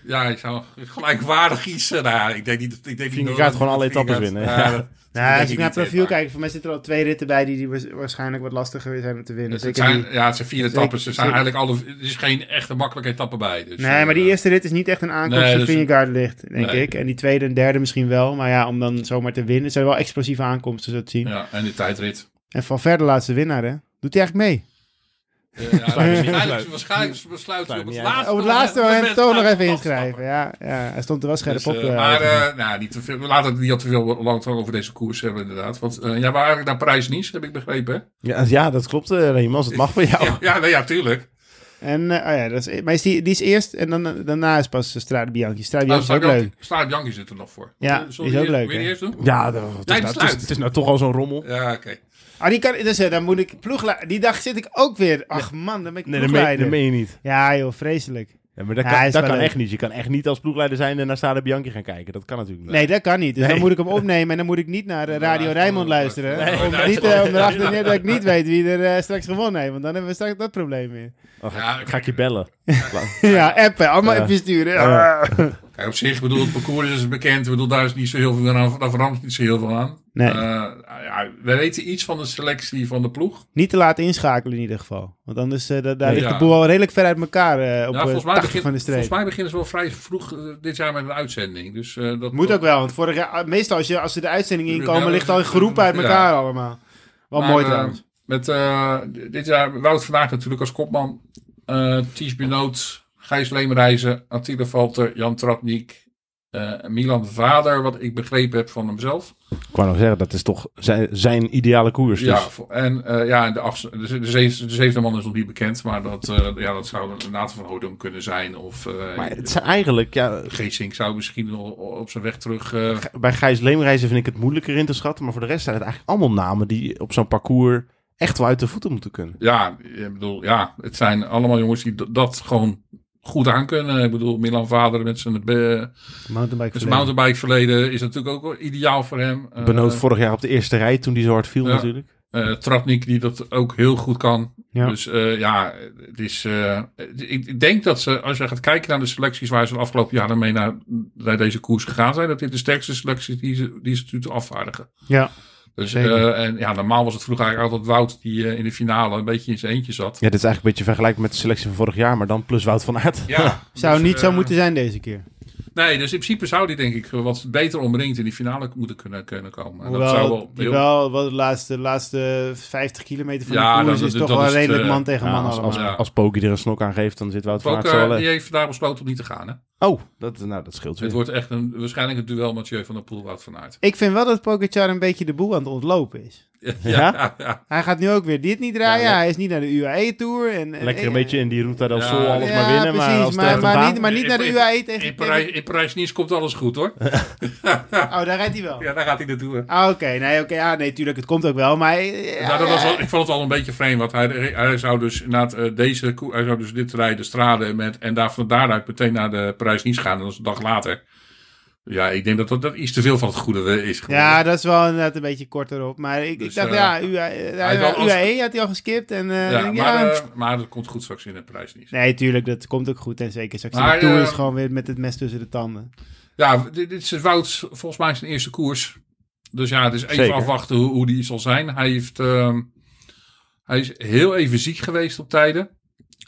Ja, ik zou gelijkwaardig iets. eh, nou, ja, ik denk niet. Ik denk niet Vingegaard dat- gewoon alle Vingegaard- etappes winnen. Ja, dat- dat denk Nou, als ik niet, naar het eh, profiel maar- kijk, voor mij zitten er al twee ritten bij die, die waars- waarschijnlijk wat lastiger zijn om te winnen. Dus het Zeker zijn, die- ja, het zijn vier etappes. Er, zijn zeker. eigenlijk alle, er is geen echte makkelijke etappe bij. Dus, Nee, maar die eh, eerste rit is niet echt een aankomst Nee, die dus- Vingegaard ligt, denk Nee. ik. En die tweede en derde misschien wel. Maar ja, om dan zomaar te winnen. Het zijn wel explosieve aankomsten, zo te zien. Ja, en de tijdrit. En van verder laatste winnaar, hè? Doet hij eigenlijk mee? Eh, ja, waarschijnlijk Sluit. waarschijnlijk besluit hij op het Sluit niet laatste Op het laatste moment met- toch nog met- even inschrijven. Ja, ja, hij stond er wel scherp Dus, op. eh, eh, maar eh, nou, niet te veel, we laten het niet al te veel lang over deze koers hebben, inderdaad. Want eh, jij was eigenlijk naar Parijs-Nice, heb ik begrepen. Hè? ja, ja, dat klopt, eh, Reemans. Het mag voor jou. Oh. Ja, ja, nee, ja, tuurlijk. En eh, oh ja, dat is, maar is die, die is eerst en dan, daarna is pas eh, Strade Bianchi. Strade Nou, Bianchi is ook leuk. Slaap Jankie zit er nog voor. Ja, Eh, die zullen is we ook die leuk, eerst- hè? Weer die eerst doen? Ja, dat- het, Nee, is het nou, het, sluit. is, het is nou toch al zo'n rommel. Ja, oké. Ah, die, kan, dus, eh, dan moet ik ploegla- Die dag zit ik ook weer. Ach man, dan ben Nee, ik dat meen, ploegleider. dat meen je niet. Ja joh, vreselijk. Ja, maar dat Ja, kan, hij is dat wel kan leuk. echt niet. Je kan echt niet als ploegleider zijn en naar Sade Bianchi gaan kijken. Dat kan natuurlijk niet. Nee, dat kan niet. Dus Nee. dan moet ik hem opnemen en dan moet ik niet naar eh, Radio Ja, Rijnmond dat- luisteren. Nee, om, nee, niet, nee, eh, om erachter nee. neer dat ik niet weet wie er eh, straks gewonnen heeft. Want dan hebben we straks dat probleem weer. Oh, ga, Ja, ik- ga ik je bellen. Ja, appen. Allemaal Ja. appjes sturen. Ja. Kijk, op zich, ik bedoel, het parcours is bekend. Ik bedoel, daar is niet zo heel veel aan. Daar verandert niet zo heel veel aan. Nee. Eh, ja, we weten iets van de selectie van de ploeg. Niet te laten inschakelen in ieder geval. Want anders eh, da- daar Nee, ligt ja. de boel al redelijk ver uit elkaar eh, op Ja, eh, 80 begin- van de streep. volgens mij beginnen ze wel vrij vroeg eh, dit jaar met een uitzending. Dus, eh, dat Moet ook wel, want vorig jaar, ah, meestal als, je, als ze de uitzending inkomen, ligt al een groep uit elkaar allemaal. Wel Maar, mooi eh, trouwens. Met, eh, dit jaar Wout vandaag natuurlijk als kopman. eh Ties Benoot, Gijs Leemreizen, Attila Valter, Jan Tratnik, eh, Milan Vader, wat ik begrepen heb van hemzelf. Ik wou nog zeggen, dat is toch zijn, zijn ideale koers. Dus. Ja, vo- en eh, ja, en de, achtste- de, ze- de, zeven- de zevende man is nog niet bekend, maar dat, eh, ja, dat zou een Nathan van Hodum kunnen zijn. Of eh Maar het zijn eigenlijk, ja, Geesink zou misschien wel op zijn weg terug... eh, bij Gijs Leemreizen vind ik het moeilijker in te schatten. Maar voor de rest zijn het eigenlijk allemaal namen die op zo'n parcours echt wel uit de voeten moeten kunnen. ja, ik bedoel, ja, het zijn allemaal jongens die d- dat gewoon goed aankunnen. Ik bedoel, Milan Vader met zijn... be- Mountainbike Dus mountainbike verleden is natuurlijk ook wel ideaal voor hem. Eh, Benoot vorig jaar op de eerste rij toen die zo hard viel ja. natuurlijk. eh, Tratnik die dat ook heel goed kan. Ja. Dus eh, ja, het is, eh, ik, ik denk dat ze, als je gaat kijken naar de selecties waar ze de afgelopen jaren mee naar, naar deze koers gegaan zijn, dat dit de sterkste selectie is die ze, die ze natuurlijk afvaardigen. Ja. Dus, Zeker. eh, en ja, normaal was het vroeger eigenlijk altijd Wout die eh, in de finale een beetje in zijn eentje zat. Ja, dit is eigenlijk een beetje vergelijkbaar met de selectie van vorig jaar, maar dan plus Wout van Aert. Zou dus, niet zo eh, moeten zijn deze keer. Nee, dus in principe zou die denk ik wat beter omringd in die finale moeten kunnen, kunnen komen. En Hoewel, dat zou wel die heel- wel, wel de laatste, laatste 50 kilometer van Ja, de koers dat- is dat- toch dat wel is het, redelijk eh, man tegen Ja, man als als, allemaal. Ja. als Poggi er een snok aan geeft, dan zit Wout van Aert zo Valker, wel... die eh, heeft vandaag besloten om niet te gaan, hè? Oh, dat, nou, dat scheelt weer. Het wordt echt een, waarschijnlijk een duel Mathieu van der Poel Wout van Aert. Ik vind wel dat Pogacar een beetje de boel aan het ontlopen is. Ja? Hij gaat nu ook weer dit niet draaien. Ja, ja. Hij is niet naar de UAE-tour. En, en- Lekker en- een beetje in die Ruta del Ja. Sol alles Ja, maar winnen, maar precies, als het maar- echt maar gaat- niet- maar naar de In- UAE in- tegen- In Parijs, in Parijs Nice komt alles goed hoor. Oh, daar rijdt hij wel. Ja, daar gaat hij naartoe. hè. Ah, oké. Nee, oké. ja, nee, tuurlijk. Het komt ook wel. Maar eh, Nou, dat was wel- ik vond het al een beetje vreemd, want hij, hij zou dus inderdaad eh, deze, koe- hij zou dus dit rijden, straden met, en daar van daaruit meteen naar de Parijs Nice gaan, en dat is een dag later. Ja, ik denk dat dat, dat iets te veel van het goede eh, is geworden. Ja, dat is wel inderdaad een beetje korter op. Maar ik, Dus, ik dacht, eh, ja, UAE, had wel als- UAE E had hij al geskipt. En, eh, Ja, ik denk, maar, ja, eh, maar dat komt goed straks in de Parijs Nice. nee, tuurlijk, dat komt ook goed. En zeker straks in Maar, de Tour eh, is gewoon weer met het mes tussen de tanden. Ja, dit, dit is Wouts volgens mij zijn eerste koers. Dus ja, het is even Zeker. afwachten hoe, hoe die zal zijn. Hij, heeft, ehm, hij is heel even ziek geweest op tijden.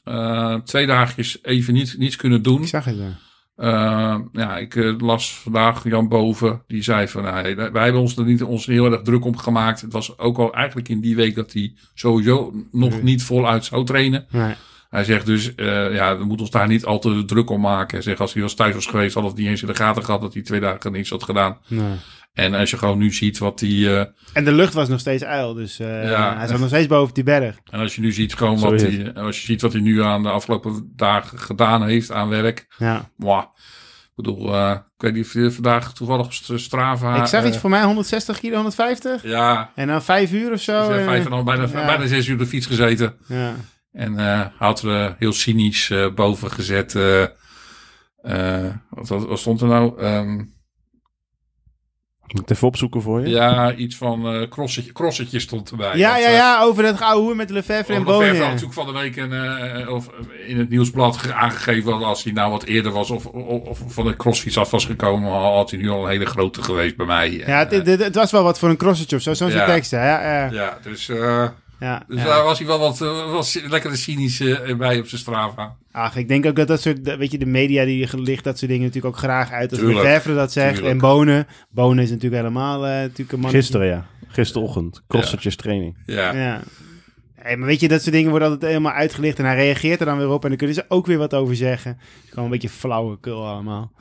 Eh, twee dagjes even niet, niets kunnen doen. Ik zag het ja. Eh, ja, ik eh, las vandaag Jan Boven. Die zei van, nou, hey, wij hebben ons er niet ons er heel erg druk om gemaakt. Het was ook al eigenlijk in die week dat hij sowieso nog niet voluit zou trainen. Nee. Hij zegt dus, eh, ja, we moeten ons daar niet al te druk om maken. Zeg, als hij was thuis was geweest, had het niet eens in de gaten gehad dat hij twee dagen niks had gedaan. Nee. En als je gewoon nu ziet wat hij, eh, En de lucht was nog steeds uil. Dus eh, Ja. hij zat nog steeds boven die berg. en als je nu ziet gewoon Zo is wat hij, als je ziet wat hij nu aan de afgelopen dagen gedaan heeft aan werk. Ja. Mwah. Ik bedoel, eh, ik weet niet of je vandaag toevallig op St- Strava. ik zag eh, iets voor mij, 160 kilo, 150. Ja, En dan vijf uur of dus, zo. eh, en- vijf en al, bijna, ja. bijna zes uur op de fiets gezeten. Ja. En eh had er heel cynisch eh, boven gezet. eh, eh, wat, wat- wat stond er nou? Ehm, Ik moet het even opzoeken voor je. Ja, iets van eh crossetje, crossetje stond erbij. Ja, Want, ja, eh, ja, over dat gouden hoer met Lefevre en Oliver Verve had Bonen. natuurlijk van de week een, eh, of in het nieuwsblad ge- aangegeven dat als hij nou wat eerder was of, of, of van de crossfiets af was gekomen, had hij nu al een hele grote geweest bij mij. En, Ja, het, eh, het, het was wel wat voor een crossetje of zo. Zo'n Ja. soort teksten. Ja, ja, ja. ja, dus, eh, dus ja. daar was hij wel wat eh, was lekker de cynische eh, bij op zijn Strava. Ach, ik denk ook dat dat soort, dat- weet je, de media die gelicht dat soort dingen natuurlijk ook graag uit. Als Tuurlijk, Lefevre dat zegt tuurlijk. en Bonen. Bonen is natuurlijk helemaal eh, natuurlijk een man. Gisteren ja, gisterochtend. Crossertjes training. Ja. Ja. Hey, maar weet je, dat soort dingen worden altijd helemaal uitgelicht en hij reageert er dan weer op en dan kunnen ze ook weer wat over zeggen. Het is gewoon een beetje flauwekul allemaal.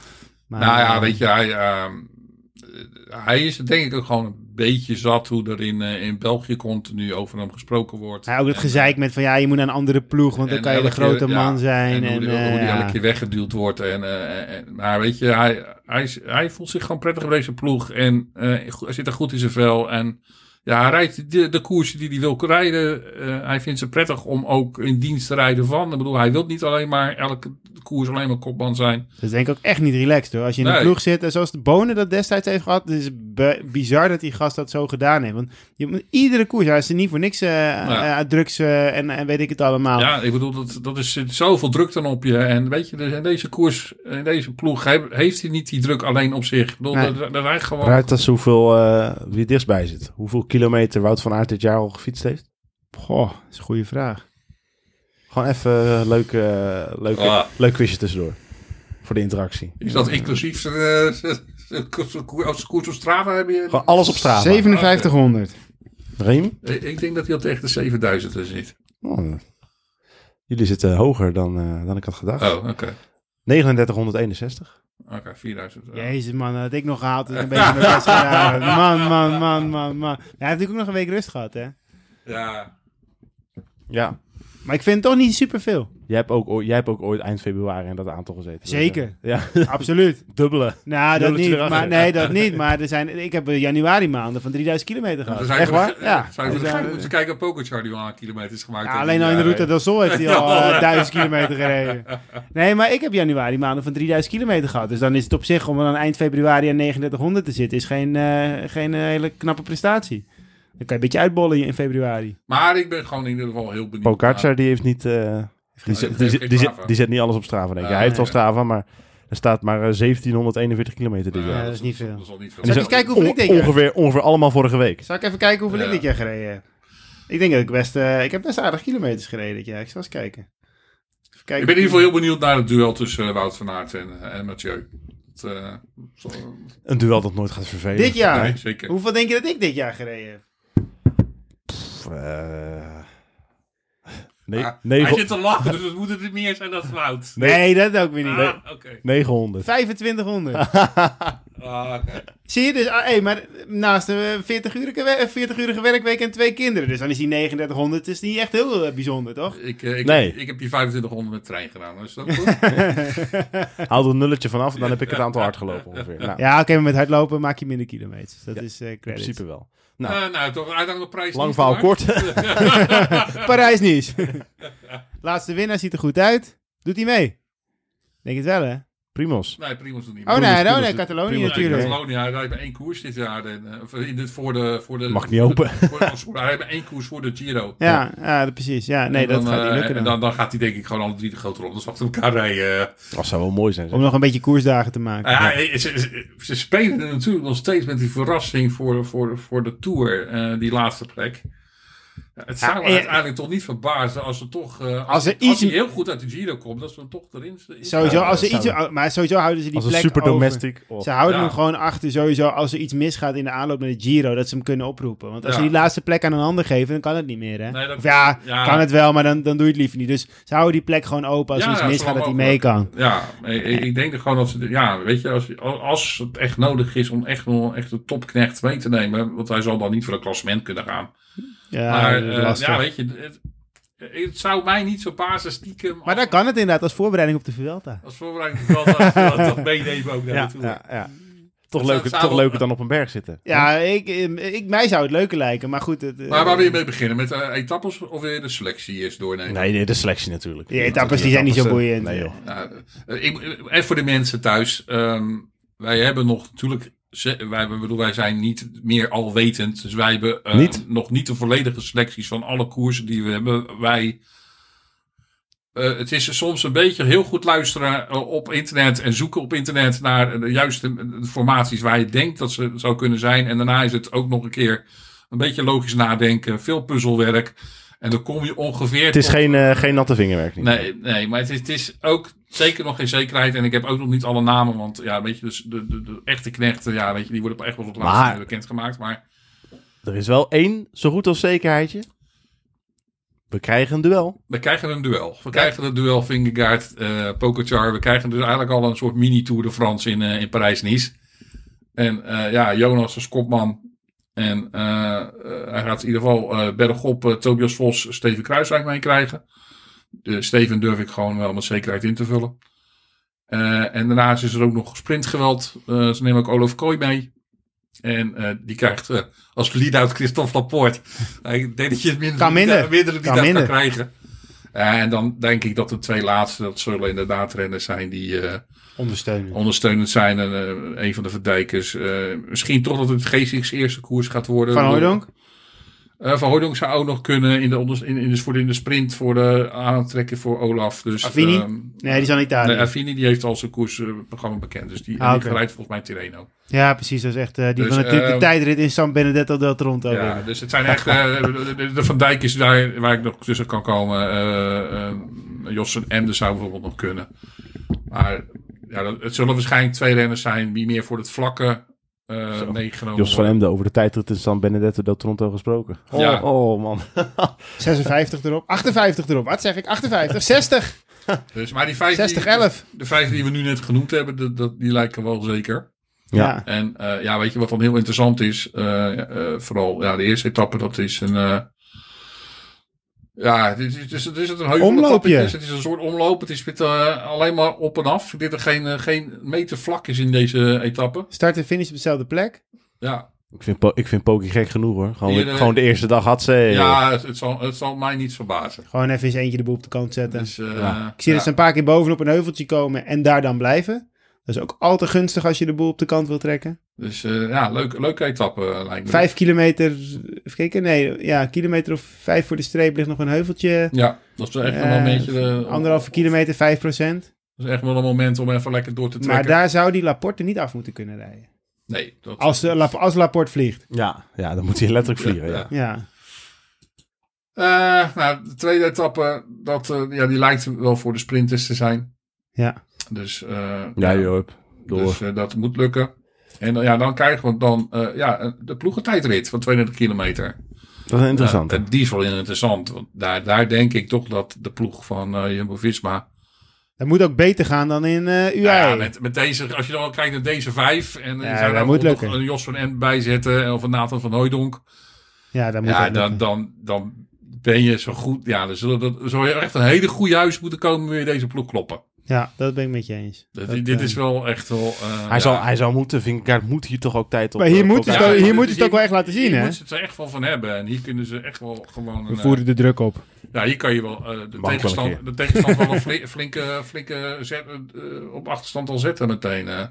Maar, Nou ja, eh, weet je, hij, ehm, eh, hij is denk ik ook gewoon een beetje zat hoe er in, eh, in België continu over hem gesproken wordt. Ja, ook dat En, gezeik met van ja, je moet naar een andere ploeg, want dan En kan je de elke grote keer, ja, man zijn. En, hoe En, die, eh, hoe die ja. elke keer weggeduwd wordt. En, eh, en- maar weet je, hij, hij, is- hij voelt zich gewoon prettig bij deze ploeg. En eh, go- hij zit er goed in zijn vel. En Ja, hij rijdt de, de koersen die hij wil rijden. Eh, hij vindt ze prettig om ook in dienst te rijden van. Ik bedoel, hij wil niet alleen maar elke koers alleen maar kopman zijn. Dat is Dus denk ik ook echt niet relaxed hoor. Als je in een Nee. ploeg zit en zoals de Bonen dat destijds heeft gehad. Het is bi- bizar dat die gast dat zo gedaan heeft. Want je moet iedere koers, hij is er niet voor niks eh Ja. eh, drugs eh, en, en weet ik het allemaal. Ja, ik bedoel, dat, dat is zit zoveel druk dan op je. En weet je, dus in deze koers, in deze ploeg, hij- heeft hij niet die druk alleen op zich. Ik bedoel, Nee. dat, dat rijdt gewoon... Ruikt als hoeveel eh, wie het dichtstbij zit. Hoeveel kilometer Wout van Aert dit jaar al gefietst heeft? Goh, dat is een goede vraag. Gewoon even een leuke, eh, leuke, Ah. leuk quizje tussendoor. Voor de interactie. Is dat inclusief zijn, eh, zijn- zijn ko- zijn ko- als koers op Strava heb je? Gewoon alles op straat. 5700. Reem? Ik Eh, ik denk dat hij op tegen de 7000 er zit. Oh, jullie zitten hoger dan, eh, dan ik had gedacht. Oh, oké. 3961. Oké, 4000. eh. Jezus man, dat had ik nog gehaald. Dat is een beetje mijn best gedaan. Man, man, man, man, man. Ja, hij heeft natuurlijk ook nog een week rust gehad hè. Ja. Ja. Maar ik vind het toch niet superveel. Jij hebt, ook, ooit- jij hebt ook ooit eind februari in dat aantal gezeten. Dus, eh, Zeker. Ja, Absoluut. dubbele. Nou, dat Nulletje niet. erachter. Maar, nee, dat niet. Maar er zijn, ik heb eh, januari maanden van 3000 kilometer gehad. Dan zou je Echt voor de- waar? eh, Ja. Zou je Dus, voor de- eh, moeten kijken op Pokerchart die eh, al aan kilometers gemaakt Ja, heeft. alleen al in de route del Sol heeft hij al eh, 1000 kilometer gereden. Nee, maar ik heb januari maanden van 3000 kilometer gehad. Dus dan is het op zich om dan eind februari aan 3900 te zitten, is geen, eh, geen eh, hele knappe prestatie. Dan kan je een beetje uitbollen in februari. Maar ik ben gewoon in ieder geval heel benieuwd. Pogacar, die heeft niet... eh, die, zet, heeft die, geen zet- die, Strava. zet- die zet niet alles op Strava, denk ik. Ah, Hij heeft wel ja. Strava, maar er staat maar eh, 1741 kilometer dit Nou, jaar. Ja, dat is niet veel. Dat is al niet veel. En die Zal ik zijn eens kijken hoeveel ik on- dit jaar- ongeveer, ongeveer allemaal vorige week. Zal ik even kijken hoeveel Ja. ik dit jaar gereden heb? Ik denk dat ik best... eh, ik heb best aardig kilometers gereden dit jaar. Ik zal eens kijken. Even kijken. Ik ben in ieder geval heel benieuwd naar het duel tussen eh, Wout van Aert en, eh, en Mathieu. Dat, eh, zal- Een duel dat nooit gaat vervelen. Dit jaar? Nee, zeker. Hoeveel denk je dat ik dit jaar gereden heb? Pff, eh, nee, Ah, Hij negen- zit te lachen, dus het moet het niet meer zijn dan Wout. Nee. Nee, dat ook weer niet. Ah, oké. 900. 2500. Ah, oké. Zie je dus, ah, hey, maar naast een eh, 40-urige we- 40-urige werkweek en twee kinderen. Dus dan is die 3900 is niet echt heel eh, bijzonder, toch? Ik, eh, ik, Nee. heb, ik heb hier 2500 met trein gedaan. Is dat goed? Haal er een nulletje vanaf, dan heb ik het aantal hard gelopen ongeveer. Nou, Ja, oké, maar met hardlopen maak je minder kilometers. Dat Ja, is eh in credits. principe wel. Nou, nou, nou, toch uiteindelijk de prijs. lang niet verhaal te maken. kort. Parijs niet. Laatste winnaar ziet er goed uit. Doet hij mee? Denk het wel, hè? Primos. Nee, prima is het niet. Oh Primoz- nee, Primoz oh, nee, doet- Catalonië Primoz doet natuurlijk. het Catalonia, hij rijdt maar één koers dit jaar. En, eh, of in dit voor de, voor de, Mag niet open. Voor de, voor- hij heeft maar één koers voor de Giro. Ja, ja, precies. Ja, nee, En dan, dat gaat niet eh, lukken En dan. dan, dan gaat hij denk ik gewoon alle drie de grote rondes achter elkaar rijden. eh. Dat zou wel mooi zijn. zeg. Om nog een beetje koersdagen te maken. Nou ja, eh, ze, ze- ze spelen er natuurlijk nog steeds met die verrassing voor, voor, voor de Tour, eh, die laatste plek. Ja, Het zou me eh, uiteindelijk toch niet verbazen als ze toch... eh, als er hij- als iets- hij heel goed uit de Giro komt, dat ze hem toch erin... in- Sowieso, als er Ja, iets, oh, maar sowieso houden ze die Als een plek super over. domestic. of- Ze houden Ja. hem gewoon achter, sowieso, als er iets misgaat in de aanloop naar de Giro, dat ze hem kunnen oproepen. Want als Ja. ze die laatste plek aan een ander geven, dan kan het niet meer, hè? Nee, dat- Of ja, ja. kan het wel, maar dan, dan doe je het liever niet. Dus ze houden die plek gewoon open als Ja, er iets ja, misgaat, zo dat hij mee mogelijk. kan. Ja, eh, ik, ik- ik denk er gewoon dat ze... Ja, weet je, als, als het echt nodig is om echt nog echt de topknecht mee te nemen... Want hij zal dan niet voor een klassement kunnen gaan. Ja, maar dat is eh, lastig. ja, weet je... Het, het zou mij niet zo bazen stiekem... maar dan kan het inderdaad als voorbereiding op de Vuelta. Als voorbereiding van dat, dat, dat meenemen ook naar Ja, de Tour. ja, ja. Toch, Het leuker, zou- toch leuker dan op een berg zitten. Ja, ik, eh, ik, mij zou het leuker lijken, maar goed. Het, eh, Maar waar wil je mee beginnen? Met eh, etappes of wil je de selectie eerst doornemen? Nee, nee, de selectie natuurlijk. Die etappes die zijn niet zo Etappes, eh, boeiend. Nee, joh. Ja, eh, ik, eh, en voor de mensen thuis. ehm, wij hebben nog natuurlijk... ze- Wij, hebben- bedoel, wij zijn niet meer alwetend. Dus wij hebben eh, Niet? nog niet de volledige selecties van alle koersen die we hebben. Wij... eh, het is soms een beetje heel goed luisteren eh, op internet en zoeken op internet naar de juiste eh, formaties waar je denkt dat ze zou kunnen zijn. En daarna is het ook nog een keer een beetje logisch nadenken, veel puzzelwerk. En dan kom je ongeveer. Het is tot- geen, eh, geen natte vingerwerk. Niet. Nee, nee maar het is, het is ook zeker nog geen zekerheid. En ik heb ook nog niet alle namen. Want ja, weet je, dus de, de, de echte knechten, ja, weet je, die worden echt wel op het laatste Maar- moment bekendgemaakt. Maar Er is wel één zo goed als zekerheidje. We krijgen een duel. we krijgen een duel. We krijgen een duel Vingegaard, eh Pogacar. We krijgen dus eigenlijk al een soort mini-tour de France in, eh, in Parijs-Nice. En eh, ja, Jonas als kopman. En eh, eh, hij gaat in ieder geval eh, bergop eh, Tobias Vos, Steven Kruiswijk meekrijgen. De Steven durf ik gewoon wel met zekerheid in te vullen. Eh, en daarnaast is er ook nog sprintgeweld. Eh, ze nemen ook Olaf Kooi mee. En eh, die krijgt eh, als lead-out Christophe Laporte. Nou, ik denk dat je het minder, Kan minder. eh, meerdere Kan lead-out kan minder. krijgen. Eh, en dan denk ik dat de twee laatste, dat zullen inderdaad renners zijn die eh, Ondersteunen. ondersteunend zijn. En eh, een van de verdijkers. eh, misschien toch dat het G6 eerste koers gaat worden. Van Hooydonk? Eh, van Hooydonk zou ook nog kunnen in de, onders- in, in, de- voor de- in de sprint voor de aantrekken voor Olaf. Dus, Affini? ehm, Nee, die is al in Italië. nee, Affini die heeft al zijn koersprogramma bekend. Dus die, Ah, die oké. rijdt volgens mij Tirreno. ja, precies. Dat is echt, eh, die Dus, wil natuurlijk de ehm, tijdrit in San Benedetto del Tronto Ja, winnen. dus het zijn echt. eh, de- de- de Van Dijk is daar waar ik nog tussen kan komen. eh, eh, Jossen Emden zou bijvoorbeeld nog kunnen. Maar ja, dat- het zullen waarschijnlijk twee renners zijn die meer voor het vlakke eh, meegenomen Jos van worden. Emden over de tijdrit in San Benedetto del Tronto gesproken. Oh, Ja. oh man. 56 erop. 58 erop. Wat zeg ik? 58. 60. Dus, maar die vijf, 60, die- 11. de vijf die we nu net genoemd hebben, dat, dat, die lijken wel zeker. Ja. Ja. En eh, ja, weet je wat dan heel interessant is? Eh, eh, vooral ja, de eerste etappe, dat is een. eh, ja, het is, het is, het is een heuveletappe. Omloopje. Het is, het is een soort omloop. Het is met, eh, alleen maar op en af. Ik denk dat er geen, eh, geen meter vlak is in deze etappe. Start en finish op dezelfde plek. Ja, Ik vind, Po- ik vind Poki gek genoeg hoor. Gewoon, Hier, eh, gewoon de eerste dag had ze. ja het, het zal, het zal mij niet verbazen. Gewoon even eens eentje de boel op de kant zetten. Dus, eh, Ja. Ik zie ja. dat ze een paar keer bovenop een heuveltje komen en daar dan blijven. Dat is ook al te gunstig als je de boel op de kant wil trekken. Dus eh, ja, leuke, leuke etappe eh, lijkt me. Vijf kilometer, even kijken, nee, ja, kilometer of vijf voor de streep ligt nog een heuveltje. Ja, dat is echt wel Eh, een beetje. De, Anderhalve kilometer, vijf procent. Dat is echt wel een moment om even lekker door te Maar trekken. daar zou die Laporte niet af moeten kunnen rijden. Nee, dat, Als, eh, Lap- als Laporte vliegt. ja. Ja, dan moet hij letterlijk vliegen. Ja. ja. Ja, Eh, nou, de tweede etappe, dat, eh, ja, die lijkt wel voor de sprinters te zijn. ja. Dus, eh, Ja, Joop. Door. dus eh, dat moet lukken. En dan- ja, dan krijgen we dan eh, ja, de ploegentijdrit van 32 kilometer. Nou, dat is interessant. Eh, die is wel interessant. Want daar, daar denk ik toch dat de ploeg van eh Jumbo-Visma... Dat moet ook beter gaan dan in eh UI. Nou ja, met, met deze, als je dan kijkt naar deze vijf... en Ja, ja, dat zou daar moet moet nog lukken. een Jos van End bij zetten... of een Nathan van Hooijdonk. Ja, dat moet Ja, ook dan, lukken. dan, dan ben je zo goed... Ja, dan zullen dat, zou je echt een hele goede huis moeten komen... wil je deze ploeg kloppen. ja, dat ben ik met je eens. Dat- Dat, dit eh, is wel echt wel. eh, hij, ja. zal, hij zal moeten. Vingegaard moet hier toch ook tijd op. Maar hier eh, moet op- hij Ja, toch- hier dus moeten ze het ook wel echt laten zien, Hier hè? moeten ze het er echt wel van hebben. En hier kunnen ze echt wel gewoon. we een, eh, voeren de druk op. ja, hier kan je wel eh, de, wel een tegenstand, keer. de tegenstand wel een fli- flinke, flinke zet, eh, op achterstand al zetten meteen. eh.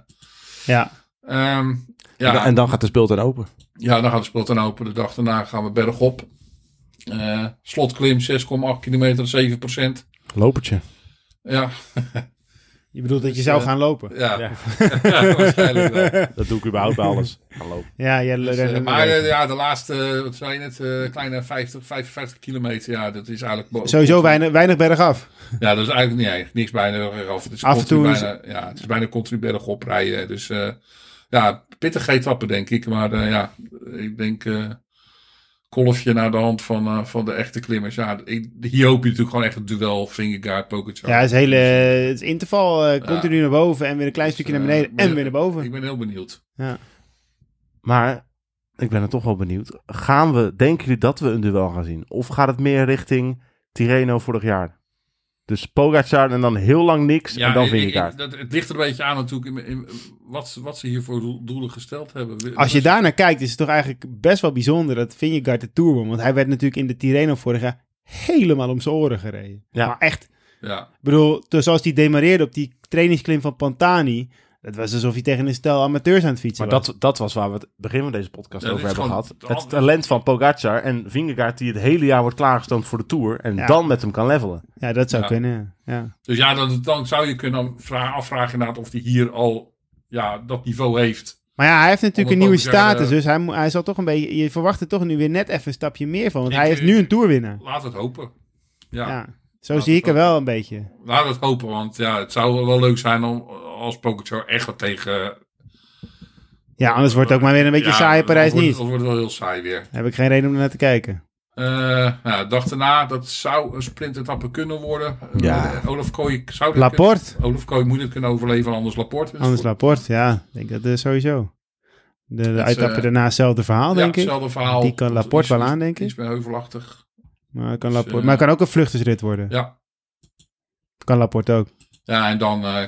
Ja, Ehm, en dan- ja, En dan gaat de speeltuin open. ja, dan gaat de speel ten open. De dag daarna gaan we bergop. Eh slotklim 6,8 kilometer, 7 procent. Lopertje. Ja, je bedoelt dat je Dus, zou eh, gaan lopen. ja. ja, waarschijnlijk wel. Dat doe ik überhaupt bij alles. Gaan lopen. Ja, jij Dus, rent eh, hem maar weer. eh, ja, de laatste, eh, wat zei je net, eh, kleine 50, 55 kilometer, ja, dat is eigenlijk... bo- Sowieso weinig, weinig bergaf. Ja, dat is eigenlijk niet eigenlijk niks bijna bergaf. Het is Af en toe continu is- bijna, ja, het is bijna continu berg oprijden. Dus eh, ja, pittige etappen denk ik. Maar eh, ja, ik denk eh kolfje naar de hand van, eh, van de echte klimmers. Ja, ik, hier hoop je natuurlijk gewoon echt een duel, Fingergaard, Pogacar. Ja, het is hele eh, het is interval. eh, continu Ja. naar boven en weer een klein Dus, stukje naar eh, beneden ben- en weer naar boven. Ik ben heel benieuwd. Ja. Maar ik ben er toch wel benieuwd. Gaan we, denken jullie dat we een duel gaan zien? Of gaat het meer richting Tireno vorig jaar? Dus Pogacar en dan heel lang niks en dan ik- ik- Vingegaard. dat, het ligt er een beetje aan natuurlijk in, in- wat, ze- wat ze hier voor doel- doelen gesteld hebben. Als je daarnaar kijkt, is het toch eigenlijk best wel bijzonder dat Vingegaard de Tour won. Want hij werd natuurlijk in de Tirreno vorig jaar helemaal om zijn oren gereden. Ja. Maar echt, Ja, ik bedoel, toen- zoals hij demareerde op die trainingsklim van Pantani. Dat was alsof hij tegen een stel amateurs aan het fietsen Maar was. dat, dat was waar we het begin van deze podcast Ja, over dit is hebben gewoon gehad. het Het andere- talent van Pogacar en Vingegaard die het hele jaar wordt klaargestoomd voor de Tour. En Ja. dan met hem kan levelen. Ja, dat zou Ja. kunnen. Ja. Dus ja, dan, dan zou je kunnen vra- afvragen inderdaad of hij hier al ja, dat niveau heeft. Maar ja, hij heeft natuurlijk een Omdat nieuwe Pogacar, status. eh, Dus hij, moet- hij zal toch een beetje... Je verwacht er toch nu weer net even een stapje meer van. Want Ik- hij heeft ik- nu een Tourwinnaar. Laat het hopen. Ja, Ja. Zo Nou, zie ik er wel een beetje. laat het hopen. Want ja, het zou wel leuk zijn om als Pogacar echt wat tegen... Ja, anders wordt het ook maar weer een beetje ja, saai dan Parijs wordt- niet. Dan wordt het wel heel saai weer. Heb ik geen reden om naar te kijken. Eh nou, de dag daarna, dat zou een sprintetappe kunnen worden. Ja. Eh, Olaf Kooi zou... dat Laporte. kunnen- Olaf Kooi moet het kunnen overleven, anders Laporte. Dus Anders voor- Laporte, ja. Ik denk dat eh, sowieso. De, de is, uittappen eh, daarna hetzelfde verhaal, denk ja, ik. hetzelfde verhaal. Die kan Laporte wel aan, denk aandenken. ik. Iets meer heuvelachtig. Maar het kan, Dus, Laporte, eh, maar het kan ook een vluchtersrit worden. Ja, Kan Laporte ook. Ja, en dan eh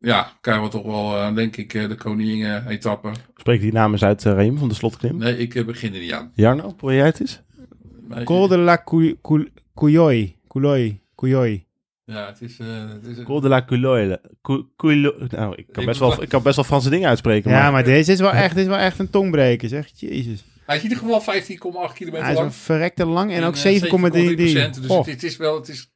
Ja, krijgen we toch wel, eh, denk ik, eh, de koningin-etappe. Spreek die namens uit eh, Reem van de Slotklim. Nee, ik eh, begin er niet aan. Jarno, probeer jij het eens? Maar- Col de la Cou- Cou- Couilloi. Couilloi. Couilloi. Ja, het is... eh, het is Col de la Couloille. Cou- Coulo- Nou, ik kan, Ik best moet- wel, ik kan best wel Franse dingen uitspreken. Ja, maar- maar deze is wel echt, dit is wel echt een tongbreker, zeg. Jezus. Hij is in ieder geval 15,8 Hij kilometer is wel lang. eh, verrekte lang en ook 7,3. Dus Oh. het, het is wel... Het is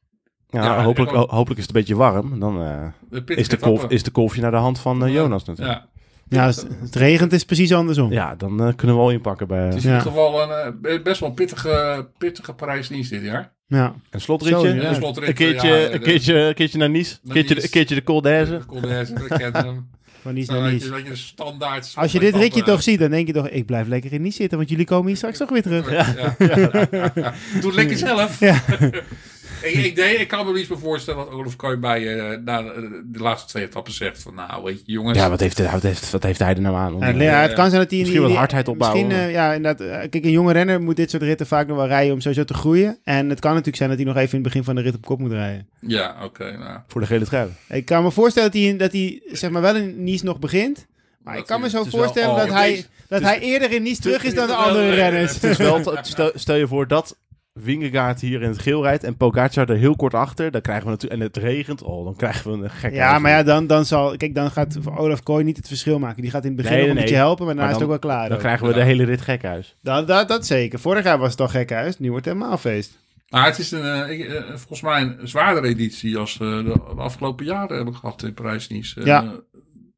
Ja, Ja, hopelijk, gewoon- ho- hopelijk is het een beetje warm. Dan eh, een is, pittige de kolf, etappe. is de kolfje naar de hand van eh, Jonas natuurlijk. Ja, Ja, als het regent is het precies andersom. Ja, dan eh, kunnen we al inpakken. het is Bij, in Ja. ieder geval een, eh, best wel een pittige, pittige Parijs-Nice dit jaar. Ja. eh, een Zo, slotritje. ja. de slotrit, Een keertje, ja, de- een, keertje, een keertje naar Nice. Een Naar keertje, de- Nice. een keertje de Col d'Aise. de Condorcet, dat kent hem. Van niets Dan naar had je- niets. dan had je een standaard... Als je dit ritje etappe. toch ziet, dan denk je toch, ik blijf lekker in Nice zitten, want jullie komen hier straks toch weer terug. Ja. Doe het lekker zelf. Ja. ik, ik, nee, ik kan me niet meer voorstellen dat Olaf Kooi bij eh, na de de laatste twee etappen zegt van nou weet je jongens. Ja, wat heeft, wat, heeft, wat heeft hij er nou aan? om- Ja, het- ja, het kan zijn dat hij... in Misschien wat die- hardheid opbouwen. Misschien, eh, ja, inderdaad. eh, Kijk, een jonge renner moet dit soort ritten vaak nog wel rijden om sowieso te groeien. En het kan natuurlijk zijn dat hij nog even in het begin van de rit op kop moet rijden. Ja, oké. nou. Voor de gele trui. Ik kan me voorstellen dat hij, dat hij zeg maar, wel in Nice nog begint. Maar Dat ik kan me hij- zo het is wel- voorstellen oh, dat, het hij, is- dat hij eerder in Nice terug is dan de andere wel- renners. Het is wel, het- stel, stel je voor dat Wingegaard hier in het geel rijdt en Pogacar er heel kort achter. Dan krijgen we natuurlijk, en het regent, oh, dan krijgen we een gekke Ja, maar ja, dan, dan zal... Kijk, dan gaat Olaf Kooi niet het verschil maken. Die gaat in het begin Nee, nog een nee, beetje nee. helpen, maar daarna Maar is het ook wel klaar. Dan ook. krijgen we de hele rit gekhuis. Dat, dat, dat zeker. Vorig jaar was het al gekhuis. Nu wordt het helemaal feest. Maar het is een, eh, ik, eh, volgens mij een zwaardere editie als eh, de de afgelopen jaren hebben gehad in Parijs-Nice. Eh, Ja.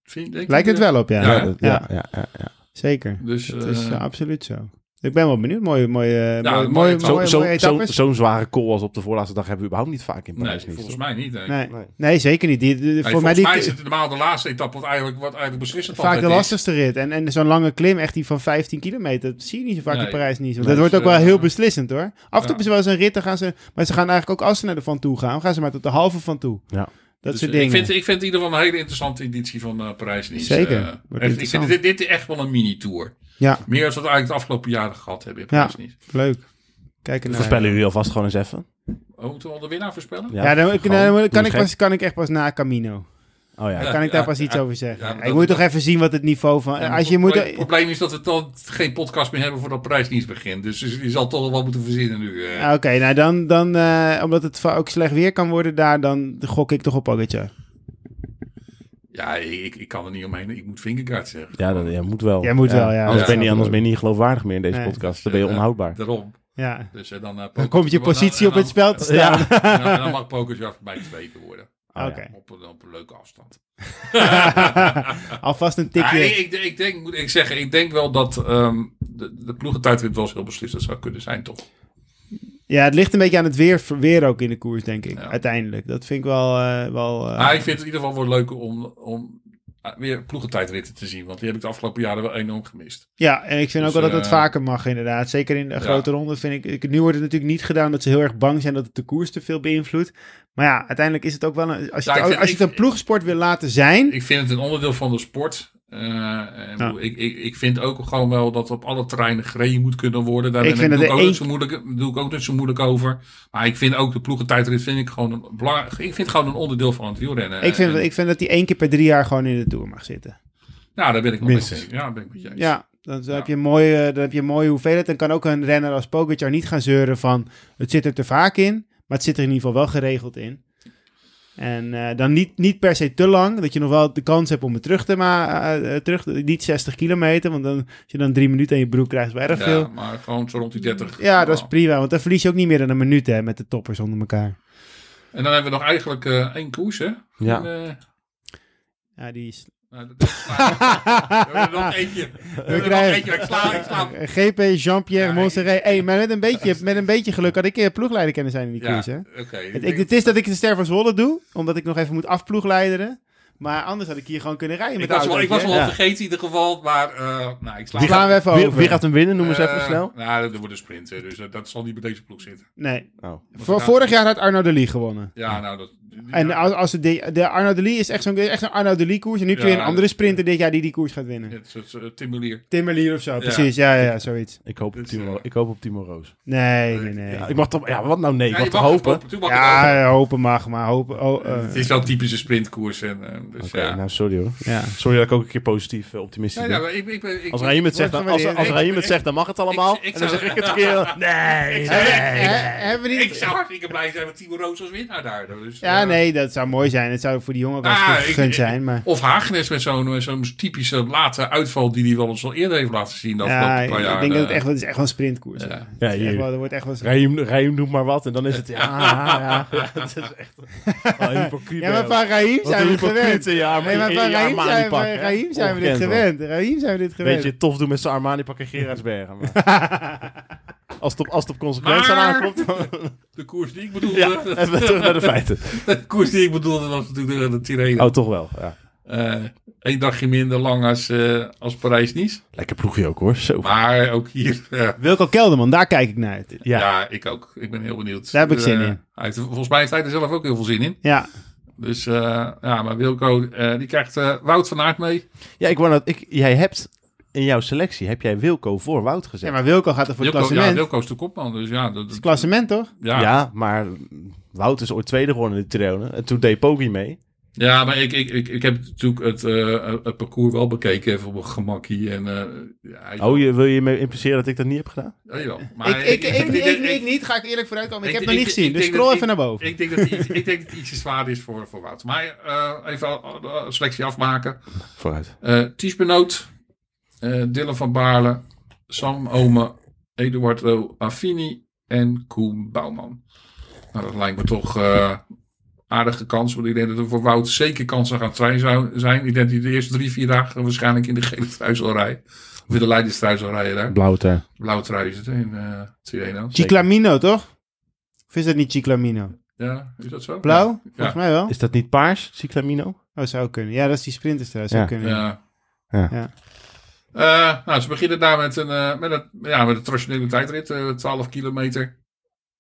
vind- denk Lijkt ik, het eh, wel op, ja. Ja, Ja, dat- ja, ja, ja, ja. zeker. Dus, Het is eh, eh, absoluut zo. Ik ben wel benieuwd. Mooie, mooie, eh, mooie, mooie mooie, etappe. mooie, Zo- mooie zo- zo- etappes. Zo'n zware call als op de voorlaatste dag hebben we überhaupt niet vaak in Nee, Parijs. niet, volgens toch? mij niet. Nee. nee. Nee. nee, zeker niet. Die, die- Nee, voor mij volgens die, mij, is het normaal de laatste etappe wat eigenlijk, wat eigenlijk beslissend vaak de altijd is. lastigste rit. En, en zo'n lange klim, echt die van 15 kilometer, dat zie je niet zo vaak in Nee. Parijs niet. Want Nee, dat wordt dus, ook wel eh, heel beslissend hoor. Af en toe ja. hebben ze wel eens een rit, dan gaan ze, maar ze gaan eigenlijk ook als ze naar de van toe gaan, gaan ze maar tot de halve van toe. Ja. Dat Dus soort ik dingen. vind, ik vind het in ieder geval een hele interessante editie van eh, Parijs-Nice. Zeker. Eh, Wordt echt, ik interessant. vind dit, dit is echt wel een mini-tour. Ja, Meer dan wat we eigenlijk de afgelopen jaren gehad hebben in ja, Parijs-Nice. leuk. Kijken naar. Voorspellen jullie alvast gewoon eens even? Oh, moeten we al de winnaar voorspellen? Eh, Ja, dan, ik, gewoon. dan Doe kan, ik eens gek. pas, kan ik echt pas na Camino. Oh ja. Ja. Kan ik daar pas ja, iets ja. over zeggen. Ja, ik dat- moet toch even zien wat het niveau van... Ja, maar Eh, als je het moet... probleem- Het probleem is dat we dan geen podcast meer hebben voordat Parijs-Nice begint. Dus je je zal toch wel wat moeten verzinnen nu. eh. Ja, Oké, nou dan, dan eh, omdat het va- ook slecht weer kan worden daar, dan gok ik toch op Pogacar. Ja, ik, ik kan er niet omheen. Ik moet Vingegaard zeggen. Ja, dat ja, moet wel. Jij moet wel, ja. Anders, Ja, ben je, niet- snap anders ik. ben je niet geloofwaardig meer in deze Nee. podcast. Dan ben je onhoudbaar. Eh, Daarom. Ja. Dus, eh, dan, eh, Dan komt je Pogacar- positie en op dan- het spel te Ja. staan. en dan- en dan mag Pokerjar bij tweede worden. ja. Oké. Op een, op een leuke afstand. Alvast een Ja, tikje. Ah, ik, ik, ik denk, moet ik zeggen, ik denk wel dat ehm de, de ploegentijdrit wel eens heel beslissend zou kunnen zijn, toch? Ja, het ligt een beetje aan het weer, weer ook in de koers, denk ik. Ja. Ah, Uiteindelijk. Dat vind ik wel... eh, wel eh, Maar ik vind het in ieder geval wel leuk om, om eh, weer ploegentijdritten te zien. Want die heb ik de afgelopen jaren wel enorm gemist. ja, en ik vind Dus, ook wel dat het eh, vaker mag, inderdaad. Zeker in de grote ronde vind ik, ik... Nu wordt het natuurlijk niet gedaan dat ze heel erg bang zijn dat het de koers te veel beïnvloedt. Maar ja, uiteindelijk is het ook wel... Een, als je, Ja, ik het, ook- vind- als je het ik- een ploegsport wil laten zijn... Ik vind het een onderdeel van de sport. Eh, en Ja. ik, ik, ik vind ook gewoon wel dat op alle terreinen gereden moet kunnen worden. Daar Ik ben vind doe dat ik de ook één- niet zo moeilijk, doe ik ook niet zo moeilijk over. Maar ik vind ook de ploegentijdrit vind ik gewoon een belangrijk. Ik vind het gewoon een onderdeel van het wielrennen. Ik vind, En- ik vind dat die één keer per drie jaar gewoon in de Tour mag zitten. Ja, daar ben ik wel Minstens. met je- Ja, daar ben ik met je eens. Ja, dan, dan heb je een mooie, dan heb je een mooie hoeveelheid. Dan kan ook een renner als Pogacar niet gaan zeuren van... het zit er te vaak in, maar het zit er in ieder geval wel geregeld in. En eh, dan niet, niet per se te lang, dat je nog wel de kans hebt om het terug te maken. terug, niet 60 kilometer, want dan, als je dan drie minuten in je broek krijgt, is wel erg Ja, veel. maar gewoon zo rond die 30. Ja, dat is Nou. prima, want dan verlies je ook niet meer dan een minuut hè, met de toppers onder elkaar. En dan hebben we nog eigenlijk eh, één koers, hè? Ja. En, eh, Ja, die is... nou, dat is klaar. we hebben er nog eentje. We hebben er nog krijgen- eentje. Ik sla, ik sla. GP Eh, Jean-Pierre Ja, Montserrat. Hey, maar met een, beetje, met een beetje geluk had ik eh, ploegleider kunnen zijn in die Ja, koers, hè? oké. Het, ik, het is dat ik de Ster van Zwolle doe, omdat ik nog even moet afploegleideren. Maar anders had ik hier gewoon kunnen rijden Ik met was, de wel, ik was autootje, wel hè? Ja. vergeten in ieder geval, maar eh, nou, ik sla Die gaan we even Wie, over. wie gaat hem winnen? Noem eens even Eh, snel. Nou, dat wordt een sprint, hè, dus eh, dat zal niet bij deze ploeg zitten. Nee. Oh. Vor- vorig jaar had Arno de Lee gewonnen. Ja, nou, dat, En als, als het de, de Arnaud de Lee is echt zo'n echt zo'n Arnaud de Lee koers. En nu heb je Ja, weer een andere sprinter dit jaar die die koers gaat winnen. Het is eh, Timmerlier. Timmerlier of zo, precies. Ja, ja, ja, zoiets. Ik hoop, op Dus, Timo, eh, ik hoop op Timo Roos. Nee, nee, nee. Ja, Ja, ik mag toch, ja, wat nou nee? Ik Ja, mag je toch mag het hopen? hopen, toen mag het hopen. hopen mag, maar hopen... Oh, eh, Het is wel typische sprintkoers. En, eh, dus Oké, ja. nou sorry hoor. ja. Sorry dat ik ook een keer positief eh, optimistisch Ja, ben. ja, maar ik, ik, ben- ik, Als Raim het zegt, dan, Wordt als, gewaardeerd. als Ik- Raim het ik- zegt, dan mag het allemaal. ik- ik en dan zou- zeg ik het een keer. Nee, nee. He- hebben we ik niet... zou hartstikke blij zijn met Timo Roos als winnaar daar. Dus, Ja, eh, nee, dat zou mooi zijn. Het zou voor die jongen wel Ah, ik- gegund ik- zijn, maar... Of Hagenes met zo'n met zo'n typische late uitval die hij wel eens al eerder heeft laten zien. Dat, Ja, dat ik paar ik jaar, denk dat het eh, echt, wel- het is echt wel een sprintkoers is. Ja. Het is Ja, echt hier. wel- er wordt echt wel... Raim, Raim doet maar wat en dan is het. Ja, ja, ja. Het is echt. Ah, Oh, hypocriet. Ja, ben maar je van Raheem Wat zijn een we het gewend. hypocriete, ja, maar Nee, maar je- van je Raheem Armani zijn, we- pak, hè? Raheem zijn we dit Ongekend, hoor. gewend. Raheem zijn we dit gewend. Beetje tof doen met zijn Armani-pak en Gerardsbergen. Maar. als, het op, als het op consequenties Maar- aankomt. dan- De koers die ik bedoelde. ja, even terug naar de feiten. De koers die ik bedoelde was natuurlijk de, de Tirreno. Oh, toch wel. Ja. Eén dagje minder lang als, eh, als Parijs-Nice. Lekker ploegje ook hoor. Zo. Maar ook hier. eh, Wilco Kelderman, daar kijk ik naar uit. Ja. ja. ik ook. Ik ben heel benieuwd. Daar heb ik zin Eh, in. hij heeft- volgens mij heeft hij er zelf ook heel veel zin in. Ja, Dus eh, ja, maar Wilco, eh, die krijgt eh, Wout van Aert mee. Ja, ik wou net- ik, jij hebt in jouw selectie heb jij Wilco voor Wout gezet. ja maar Wilco gaat er voor het Wilco, ja, klassement. Het Wilco is de kopman. Dus ja, dat, is klassement, toch? ja. Ja. ja. maar Wout is ooit tweede geworden in de Trione. En toen deed Poggi mee. maar ik, ik, ik, ik heb natuurlijk het, eh, het parcours wel bekeken. Even op een gemakkie. En, eh, ja, hij- Oh, je, wil je me impliceren dat ik dat niet heb gedaan? Ja, jawel. Maar Ik, ik, ik, ik, denk- ik, niet, ga ik eerlijk vooruitkomen. Ik heb het nog denk- niet gezien, ik dus denk scroll dat even naar ik- boven. Ik denk dat het iets, ik denk dat het ietsje zwaar is voor, voor Wout. Maar eh, even een selectie afmaken. Vooruit. Eh Ties Benoot, eh, Dylan van Baarle, Sam Ome, Eduardo Affini en Koen Bouwman. Nou, dat lijkt me toch eh, aardige kans. Want ik denk dat er voor Wout zeker kansen gaan trein zou zijn. Ik denk dat hij de eerste drie, vier dagen waarschijnlijk in de gele trui zal rijden. Of in de leiderstrui zal rijden daar. Blauw ter. Blauwe trui is het hè, in eh Tirreno. Chiclamino, toch? Of is dat niet Chiclamino? Ja, is dat zo? Blauw? Volgens mij wel. Is dat niet paars, Cyclamino? Oh, zou kunnen. Ja, dat is die sprinters trouwens. Zou Ja. kunnen. Ja. Ja. Ja. Eh, nou, ze beginnen daar met een, eh, met een, ja, met een traditionele tijdrit, eh, 12 kilometer.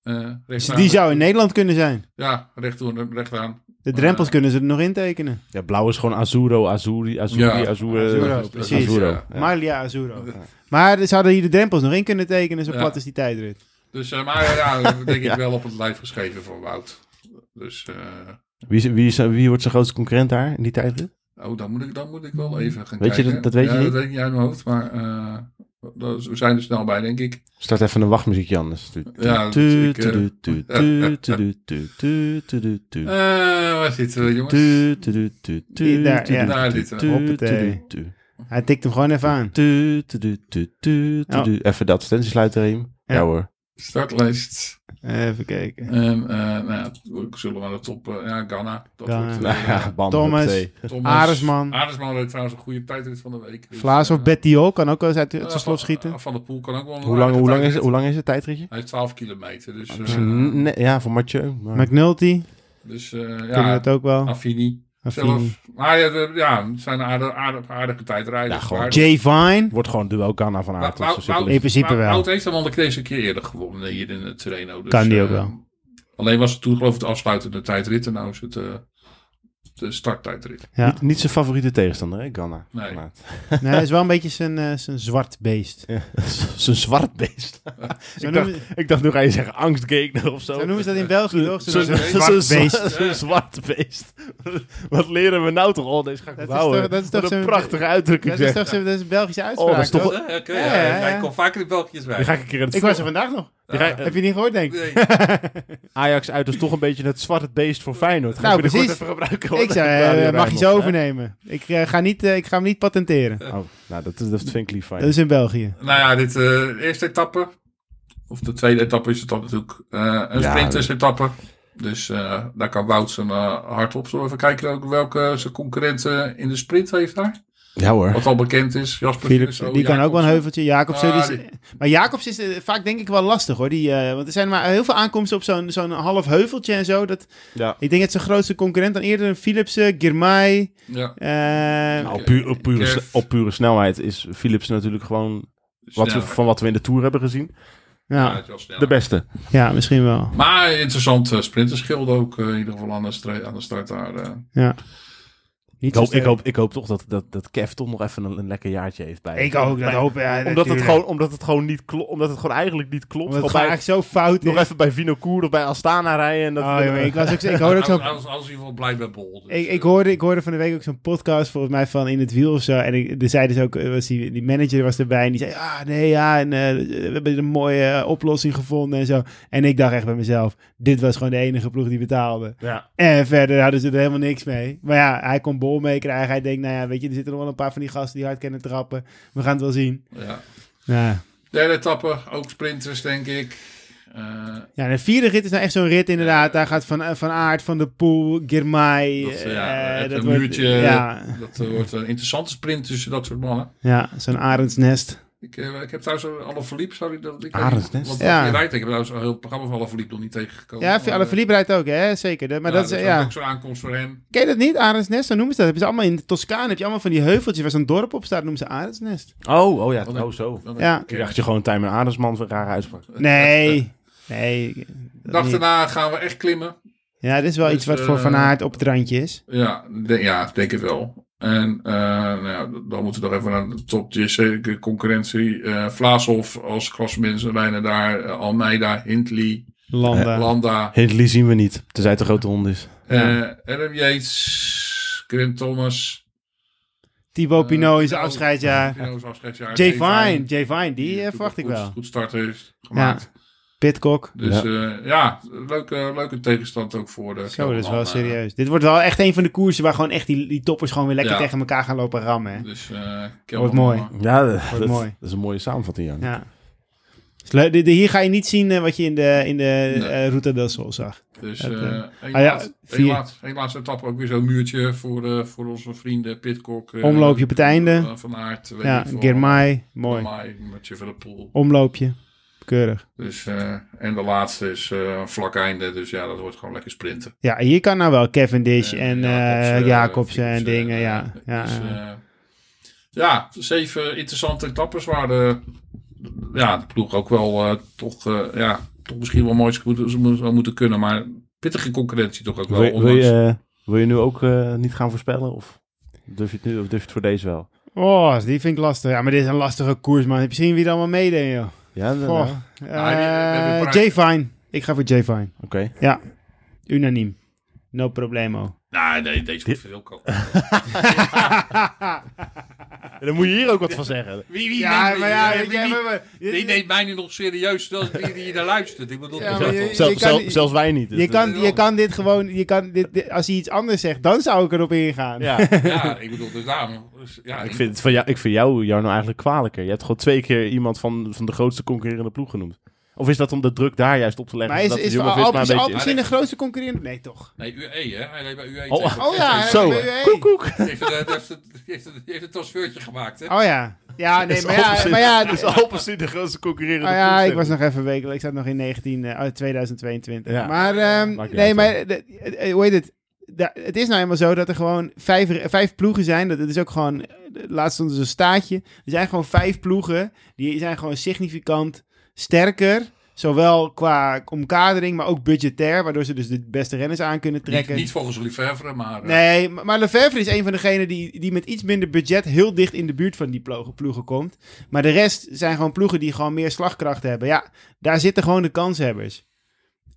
Eh, recht Dus aan. die zou in Nederland kunnen zijn. Ja, recht toe en recht aan. De drempels Eh. kunnen ze er nog intekenen. Ja, blauw is gewoon Azuro, Azuri, Azuri, Ja. Azure. Azuro, precies. Azuro. Ja. Ja. Malia Azuro. Maar ze zouden hier de drempels nog in kunnen tekenen, zo Ja. plat is die tijdrit. Dus, eh, maar ja, dat denk ik Ja. wel op het lijf geschreven voor Wout. Dus, eh, Wie, is- wie, is- wie wordt zijn grootste concurrent daar in die tijdrit? oh, dan moet, ik, dan moet ik wel even gaan Weet je kijken. dat- dat weet je ja, niet? dat weet ik niet uit mijn hoofd, maar eh, dat is- we zijn er snel bij, denk ik. Start even een wachtmuziekje anders. Tu- tu- Ja, dat tu- is ik, eh. tu- tu- tu- tu- tu- tu- tu- tu- tu- Eh waar zitten we, jongens? tu- tu- tu- tu- Daar, tu- ja. tu- Daar tu- zitten we. tu- Hoppatee. tu- tu- Hij tikt hem gewoon even aan. tu- tu- tu- tu- tu- tu- Oh. tu. Even de advertentie sluiten, Reem. Ja. Ja hoor. Startlijst. Even kijken. En, eh, nou, ja, zullen we aan de top, eh, ja, Ghana. Dat Ghana. wordt, eh, Nou ja, bam, Thomas. hoppatee. Thomas. Aresman. Aresman reed trouwens een goede tijdrit van de week. Dus, Vlaas of eh, Bettiol kan ook wel eens uit uit eh, zijn Van- slot schieten. eh, Van de Poel kan ook wel een Hoe lang, hoe, lang is, tijdrit. hoe lang is het tijdritje? Hij heeft 12 kilometer. Dus, eh, Mm, Nee, ja, voor Mathieu. maar- McNulty, dus eh, kunnen we ja, dat ook wel. Affini. Affini. Zelf. Maar ja, de- ja, het zijn aardige, aardige, aardige tijdrijders. Ja, gewoon Maar- Jay Vine. Wordt gewoon duel Ghana van Wout- Aert. Wout- Zo simpel Wout- is In principe Wout- wel. Wout heeft hem al deze keer eerder gewonnen hier in het Torino. Dus, Kan die ook eh, wel. Alleen was het toen geloof ik de afsluitende tijdrit. En nou is het eh, de starttijdrit. Ja. Niet, niet zijn favoriete tegenstander, hè, Ghana. Nee. Van Aert. Nee, hij is wel een beetje zijn, eh, zijn zwart beest. Ja, zijn zwart beest. Zo Ik noemen, Ik dacht, nu ga je zeggen angstgegner of zo. zo noemen ze dat in België, toch? Zo'n Zo'n- zwart zo'n- zo'n- beest. zo'n- zo'n zwart beest. Wat leren we nou toch al? Deze ga ik Dat is onthouden. toch- dat is toch Wat een zo'n- prachtige uitdrukking. Dat is zeg. toch zo- dat is een Belgische uitspraak, Oh, dat is toch- toch? Ja, oké, Ja, ja, ja, ja, ja. Ik kom vaker de Belgiërs bij. Die ga ik een keer in het Ik was er vandaag nog. die ga ik- Heb je niet gehoord, denk ik? Nee. Ajax uit is toch een beetje het zwarte beest voor Feyenoord. Ga Nou, ik binnenkort precies. even gebruiken. hoor. Ik zei, Radio eh, mag je Rijnmond, zo hè? overnemen. Ik, eh, ga niet, eh, ik ga hem niet patenteren. Oh, nou, dat, is- dat vind ik lief van Dat je. is in België. Nou ja, dit eh, de eerste etappe. Of de tweede etappe is het dan natuurlijk. eh een Ja, sprintersetappe. Dus eh, daar kan Wout zijn eh, hart op. Zullen we even kijken ook welke zijn concurrent eh, in de sprint heeft daar? Ja hoor. Wat al bekend is. Jasper Philips, die kan ook wel een heuveltje. Jacobsen. Ah, die is- die- Maar Jacobs is eh, vaak denk ik wel lastig hoor. Die, eh, want er zijn maar heel veel aankomsten op zo'n zo'n half heuveltje en zo. Dat, Ja. ik denk dat zijn grootste concurrent dan eerder een Philipsen, Girmay. Ja. eh, Nou, op, puur- op, pure, Kerf. sne- op pure snelheid is Philips natuurlijk gewoon wat we, Sneller. van wat we in de Tour hebben gezien. Hij Ja, is wel sneller. De beste. ja misschien wel. Maar interessant eh, sprinterschild ook eh, in ieder geval aan de, stre- aan de start daar. eh. Ja. Niet Ik hoop, zo ik, sterk. hoop, ik hoop toch dat, dat, dat Kev toch nog even een, een lekker jaartje heeft bij. Ik ook, dat bij- hoop ik. Ja, Omdat het, natuurlijk. gewoon, omdat, het gewoon niet klo- omdat het gewoon eigenlijk niet klopt. Omdat het Gewoon gewoon bij- echt zo fout is. nog even bij Vinokour of bij Astana rijden. En dat, Oh, jongen, ik, was ook, zo- ik hoorde Als, ook zo'n als, als in ieder geval blij bij Bol. Dus, Ik, ik, eh, hoorde, ik hoorde van de week ook zo'n podcast, volgens mij van In het Wiel of zo. En ik, er zei dus ook, eh, was die, die manager was erbij en die zei, ah nee ja, en, eh, we hebben een mooie eh, oplossing gevonden en zo. En ik dacht echt bij mezelf, dit was gewoon de enige ploeg die betaalde. ja. En verder hadden ze er helemaal niks mee. Maar ja, hij kon bol mee krijgen. Hij denkt, nou ja, weet je, er zitten nog wel een paar van die gasten die hard kunnen trappen. We gaan het wel zien. ja. Ja, Derde etappe, ook sprinters denk ik. Eh, ja en de vierde rit is nou echt zo'n rit inderdaad. Daar gaat Van, eh, van Aert, Van de Poel, Girmay. dat, eh, eh, ja, dat dat een wordt- muurtje, Ja, dat eh, wordt een interessante sprint tussen dat soort mannen. ja zo'n Arendsnest. Ik, eh, ik heb trouwens al alle verliep, sorry dat ik. Arendsnest. Want Ja. je rijdt, ik heb trouwens al heel het programma van alle verliep nog niet tegengekomen. eh, Ja, alle verliep. Philippe rijdt ook, hè? Zeker. Dat- Maar dat, is, ook ja. ook zo'n aankomst voor hem. Ken je dat niet? Arendsnest, zo noemen ze dat. Hebben ze allemaal in Toscaan, heb je allemaal van die heuveltjes waar zo'n dorp op staat, noemen ze Arendsnest. Oh, oh ja. Wat een- Oh, zo. Wat een Ja. Ik kerk. dacht je gewoon Tijmen Adersman van rare uitspraak. Nee. Nee. ik- De dat dag niet. daarna gaan we echt klimmen. Ja, dit is wel Dus, iets wat voor eh, Van Aert op het randje is. Ja, ik denk- ja, ik denk het wel. En eh, nou ja, d- dan moeten we nog even naar de top JC concurrentie. Eh Vlaashoff als klassementsrijder daar. eh, Almeida, Hindley, Landa. Landa. Hindley zien we niet, tenzij het een grote hond is. eh Adam Yates, Grant Thomas. Thibaut Pinot in zijn eh, afscheidsjaar. Pino's afscheidsjaar. Jay Vine. Jay Vine, die eh, natuurlijk verwacht ik goed- wel. Goed start heeft gemaakt. Pitcock. Dus ja, ja leuke, leuke tegenstand ook voor de. Zo, dat is wel Kelderman, eh. serieus. Dit wordt wel echt een van de koersen waar gewoon echt die, die toppers gewoon weer lekker Ja. tegen elkaar gaan lopen rammen. Hè? Dus eh Wordt Kelderman, mooi. eh, Ja, dat, dat- mooi. dat is een mooie samenvatting, Jan. Ja. Is leuk. Dus De- de- hier ga je niet zien eh, wat je in de, in de Nee. eh, Ruta del Sol zag. Dus Het, eh eh, één ah ja, laat- vier. één laat- één laatste etappe ook weer zo'n muurtje voor, eh, voor onze vrienden Pitcock. eh, Omloopje op het einde. eh, van Aert. weet Ja, ik veel. Girmay, mooi. Girmay, Mathieu van der Poel. Omloopje, keurig. Dus, eh, en de laatste is eh, een vlak einde. Dus ja, dat wordt gewoon lekker sprinten. Ja, hier kan nou wel Cavendish en Jacobsen, eh eh, Jacobsen en Philipsen, dingen, eh, ja. ja, dus, ja. eh, ja, zeven interessante etappes waar de, ja, de ploeg ook wel eh, toch, eh, ja, toch misschien wel moois moeten, zou moeten kunnen. Maar pittige concurrentie toch ook wel. Wil, je- wil, ondanks- je, eh, wil je nu ook eh, niet gaan voorspellen? Of durf je het nu of durf je het voor deze wel? Oh, die vind ik lastig. Ja, maar dit is een lastige koers, man. Heb je gezien wie er allemaal meedeed, joh? Ja, nou, Goh. nou, oké. Nou, die- we hebben Eh, een paar- Jay Vine. Ik ga voor Jay Vine. Unaniem. No problemo. Nee, Nou, nee, deze wordt veel komen. En dan moet je hier ook wat van zeggen. Wie, wie Ja, neemt- maar ja, wie- weet je, wie- maar- maar- die neemt mij nu nog serieus, terwijl wie die daar luistert. Ik bedoel, Ja, dat maar is wel- je- Zelf- kan zelf- niet- zelfs wij niet. dus je, dat- kan, je kan dit gewoon, je kan dit, dit- als hij iets anders zegt, dan zou ik erop ingaan. ja. ja, ik bedoel, dus daarom. dus ja, Ik vind, het van jou, ik vind jou, jou nou eigenlijk kwalijker. Je hebt gewoon twee keer iemand van, van de grootste concurrerende ploeg genoemd. Of is dat om de druk daar juist op te leggen? Maar is, zodat is, de jonge Alpes- Visma Alpes een beetje- misschien de grootste concurrent? Nee, toch? Nee, UE, hè? Hij deed bij UE. Oh, tegen- Oh ja, tegen- Zo, Nee, nee, nee. koek, koek. Die heeft, een- die heeft, een- die heeft, een- die heeft een transfertje gemaakt, hè? Oh ja. Ja, nee, maar ja, Alpes- maar ja, is Alpes in de grootste concurrerende Ah ja, ploeg. ik was nog even wekelijk. Ik zat nog in 19, eh, oh, 2022. Ja. Maar, ehm, Maakt niet nee, uit, maar de- eh, hoe heet het? Da- het is nou eenmaal zo dat er gewoon vijf, eh, vijf ploegen zijn. Dat, het is ook gewoon, eh, laatst stond er zo'n staatje. Er zijn gewoon vijf ploegen. Die zijn gewoon significant sterker. Zowel qua omkadering, maar ook budgetair. Waardoor ze dus de beste renners aan kunnen Niet, trekken. niet volgens Lefevre, maar... eh, Nee, maar maar Lefebvre is een van degenen die, die met iets minder budget heel dicht in de buurt van die ploegen, ploegen komt. Maar de rest zijn gewoon ploegen die gewoon meer slagkracht hebben. Ja, daar zitten gewoon de kanshebbers.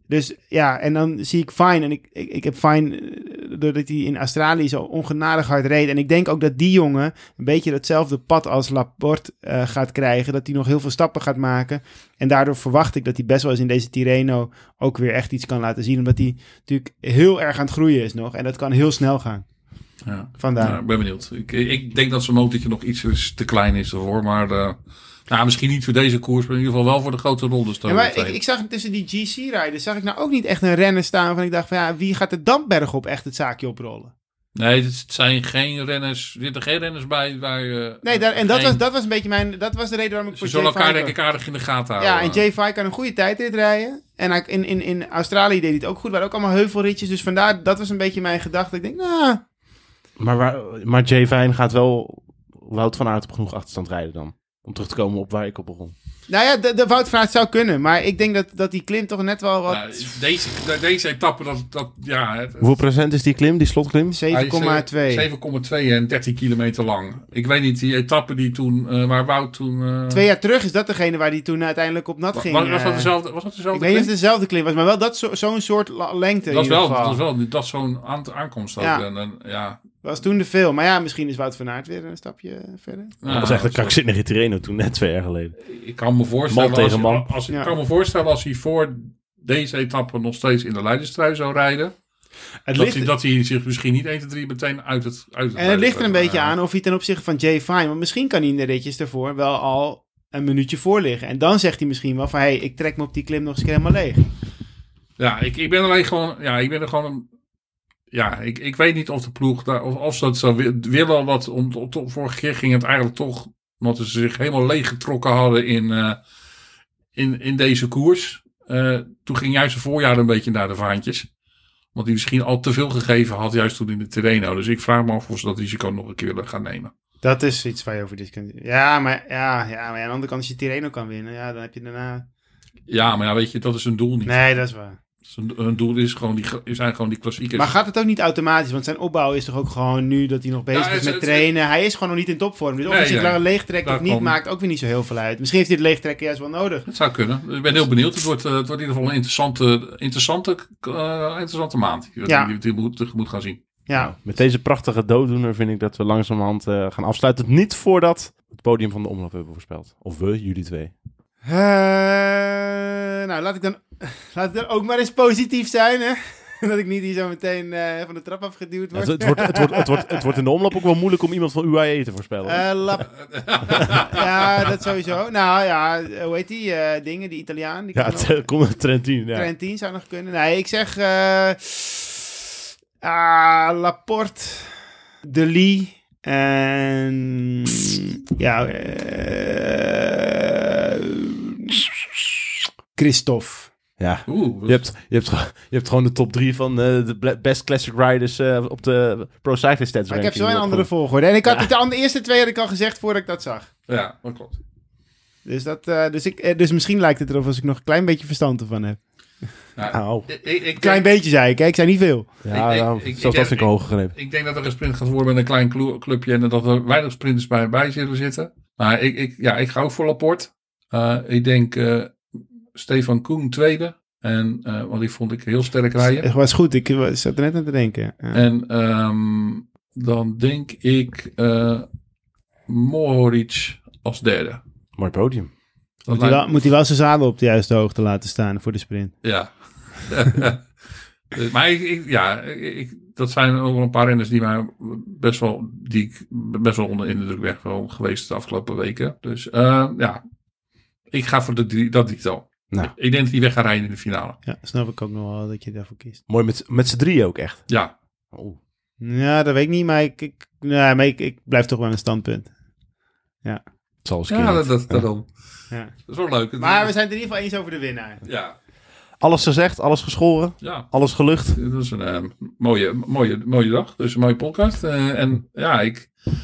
Dus ja, en dan zie ik Fine. En ik, ik, ik heb Fine, eh, doordat hij in Australië zo ongenadig hard reed. En ik denk ook dat die jongen een beetje datzelfde pad als Laporte eh, gaat krijgen. Dat hij nog heel veel stappen gaat maken. En daardoor verwacht ik dat hij best wel eens in deze Tirreno ook weer echt iets kan laten zien. Omdat hij natuurlijk heel erg aan het groeien is nog. En dat kan heel snel gaan. ja. Vandaar. Nou, ik ben benieuwd. Ik, ik denk dat zijn motortje nog iets is te klein is ervoor, maar... eh, nou, misschien niet voor deze koers, maar in ieder geval wel voor de grote rondes. Ja, maar ik, ik zag tussen die GC-rijders, zag ik nou ook niet echt een renner staan van ik dacht van ja, wie gaat de Damberg op echt het zaakje oprollen? Nee, het zijn geen renners. Er zitten geen renners bij. bij eh, Nee, daar, en dat geen- was, dat was een beetje mijn, dat was de reden waarom ik Ze voor zullen Jay elkaar Vine denk ik aardig in de gaten koos. houden. Ja, en Jay Vine kan een goede tijdrit rijden. En hij, in, in, in Australië deed hij het ook goed, waren ook allemaal heuvelritjes. Dus vandaar, dat was een beetje mijn gedachte. Ik denk, nou, Maar, waar- maar Jay Vijn gaat wel Wout van Aert op genoeg achterstand rijden dan. Om terug te komen op waar ik op begon. Nou ja, de, de Wout-vraag zou kunnen. Maar ik denk dat, dat die Klim toch net wel wat... Nou, deze, de- deze etappe, dat, dat ja... het- Hoeveel procent is die klim, die slotklim? hij is, 7,2. eh, 7,2 en 13 kilometer lang. Ik weet niet, die etappe die toen, eh, waar Wout toen... eh, Twee jaar terug is dat degene waar die toen uiteindelijk op nat wa- ging. was, was eh. dat dezelfde? Was dat Ik dezelfde weet niet of klim? het dezelfde klim was, maar wel dat zo- zo'n soort la- lengte dat is in ieder wel, geval. dat is wel, dat is zo'n aan- aankomst ook. Ja. En, dan, ja. Was toen de film. Maar ja, misschien is Wout van Aert weer een stapje verder. Dat was echt een Ja, krankzinnige Tirreno toen, net twee jaar geleden. Ik kan me voorstellen, Man tegen als, man. Als, ik Ja. kan me voorstellen als hij voor deze etappe nog steeds in de leiderstrui zou rijden. Het Dat ligt, hij, dat hij zich misschien niet 1, 2, 3 meteen uit het uit en het ligt er een beetje aan. aan of hij ten opzichte van Jay Fine... Want misschien kan hij in de ritjes daarvoor wel al een minuutje voor liggen. En dan zegt hij misschien wel van... Hé, hey, ik trek me op die klim nog eens een keer helemaal leeg. Ja, ik, ik ben alleen gewoon. Ja, ik ben er gewoon. Een, ja, ik, ik weet niet of de ploeg daar. Of, of ze dat zou wi- willen. Wat, om, om- om- vorige keer ging het eigenlijk toch. Omdat ze zich helemaal leeggetrokken hadden in, eh, in, in deze koers. Eh, toen ging juist het voorjaar een beetje naar de vaantjes. Want die misschien al te veel gegeven had, juist toen in de Terreno. Dus ik vraag me af of ze dat risico nog een keer willen gaan nemen. Dat is iets waar je over discussieert. Ja, maar, ja, ja, maar aan de andere kant als je Tireno kan winnen... Ja, dan heb je daarna... Ja, maar ja, weet je, dat is hun doel niet. Nee, dat is waar. Hun- Hun doel is gewoon die, gro- zijn gewoon die klassiekers. Maar gaat het ook niet automatisch? Want zijn opbouw is toch ook gewoon nu dat hij nog bezig Ja, is het- met het- trainen. Hij is gewoon nog niet in topvorm. Dus of Nee, hij zich nee. lang leeg trekt of Daar niet, kwam- maakt ook weer niet zo heel veel uit. Misschien heeft hij het leegtrekken juist wel nodig. Het zou kunnen. Ik ben heel benieuwd. Het wordt, eh, het wordt in ieder geval een interessante, interessante, eh, interessante maand. Die, Ja. die, die moet, tegemoet gaan zien. Ja, Met deze prachtige dooddoener vind ik dat we langzamerhand eh, gaan afsluiten. Niet voordat we het podium van de omloop hebben voorspeld. Of we, jullie twee. Eh, nou, laat ik, dan, laat ik dan ook maar eens positief zijn, hè. Dat ik niet hier zo meteen eh, van de trap afgeduwd Ja, het, word. het wordt, het, wordt, het, wordt, het wordt in de omloop ook wel moeilijk om iemand van UAE te voorspellen. Eh, lap. ja, dat sowieso. Nou ja, eh, hoe heet die eh, dingen? Die Italiaan? Die ja, kan ook- het eh, komt Trentin. Ja. Trentin zou nog kunnen. Nee, ik zeg... eh ah, Laporte, De Lee en... Ja, eh Christophe. ja. Oeh, Je hebt, je, hebt, ge- je hebt gewoon de top drie van eh, de ble- best classic riders eh, op de pro cycling stats. Maar ik heb zo ranking. een andere volgorde. En ik had het de eerste twee had ik al gezegd voordat ik dat zag. ja, dat klopt. Dus, dat, eh, dus, ik, eh, dus misschien lijkt het erop als ik nog een klein beetje verstand ervan heb. Ja, Au. ik, ik, ik, Nou. Klein beetje zei ik, hè? Ik zei niet veel. Oh, Ja, Ik- ik- nou, ik- ik- zelfs dat vind ik ik- hoog gegrepen. ik denk dat er een sprint gaat worden met een klein clu- clubje en dat er weinig sprinters bij, bij zullen zitten. Maar ik, ik, ja, ik ga ook voor Laporte. Eh, ik denk eh, Stefan Koen tweede. En, eh, want die vond ik heel sterk rijden. Het was goed, ik eh, zat er net aan te denken. Ja. En ehm, dan denk ik eh Mohoric als derde. Mooi podium. Dat Moet hij, lijkt- wel, moet hij wel zijn zadel op de juiste hoogte laten staan voor de sprint. Ja. Eh, maar ik, ik- ja, ik, ik- dat zijn ook wel een paar renners die, mij best wel, die ik best wel onder indruk ben wel geweest de afgelopen weken. Dus eh, ja, ik ga voor de drie, dat drietal. Nou. Ik denk dat die weg gaan rijden in de finale. Ja, snap ik ook nog wel dat je daarvoor kiest. Mooi met, met z'n drieën ook echt. Ja, Oeh. Ja, dat weet ik niet, maar ik, ik, nee, maar ik, ik blijf toch wel een standpunt. Het zal eens een ja keer. dat, dat, dat, dat Ja. is wel leuk. Maar we zijn het in ieder geval eens over de winnaar. Ja, Alles gezegd, alles geschoren, ja. alles gelucht. Het was een eh, mooie, mooie, mooie dag. Dus een mooie podcast. Eh, en ja, ik. eh,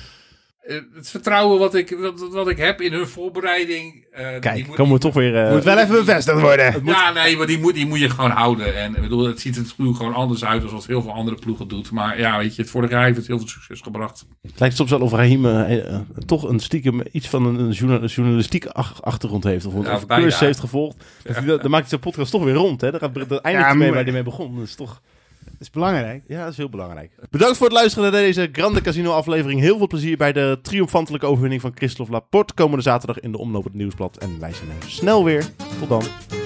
Het vertrouwen wat ik, wat, wat ik heb in hun voorbereiding. eh, die Kijk, moet- komen we toch weer... eh, Moet wel even bevestigd worden. Ja, nee, maar die moet, die moet je gewoon houden. En ik bedoel, het ziet er natuurlijk gewoon anders uit dan wat heel veel andere ploegen doet. Maar ja, weet je, het vorig jaar heeft het heel veel succes gebracht. Het lijkt soms wel of Raheem eh, eh, eh, toch een stiekem iets van een, een journa- een journalistiek ach- achtergrond heeft. Of, een- Ja, of een bijna. cursus heeft gevolgd. Dat hij dat- dan maakt hij zijn podcast toch weer rond. Hè? Daar gaat, daar eindigt hij mee moeilijk. waar hij mee begon. Dat is toch... Dat is belangrijk. Ja, dat is heel belangrijk. Bedankt voor het luisteren naar deze Grande Casino aflevering. Heel veel plezier bij de triomfantelijke overwinning van Christophe Laporte. Komende zaterdag in de Omloop het Nieuwsblad. En wij zijn er snel weer. Tot dan.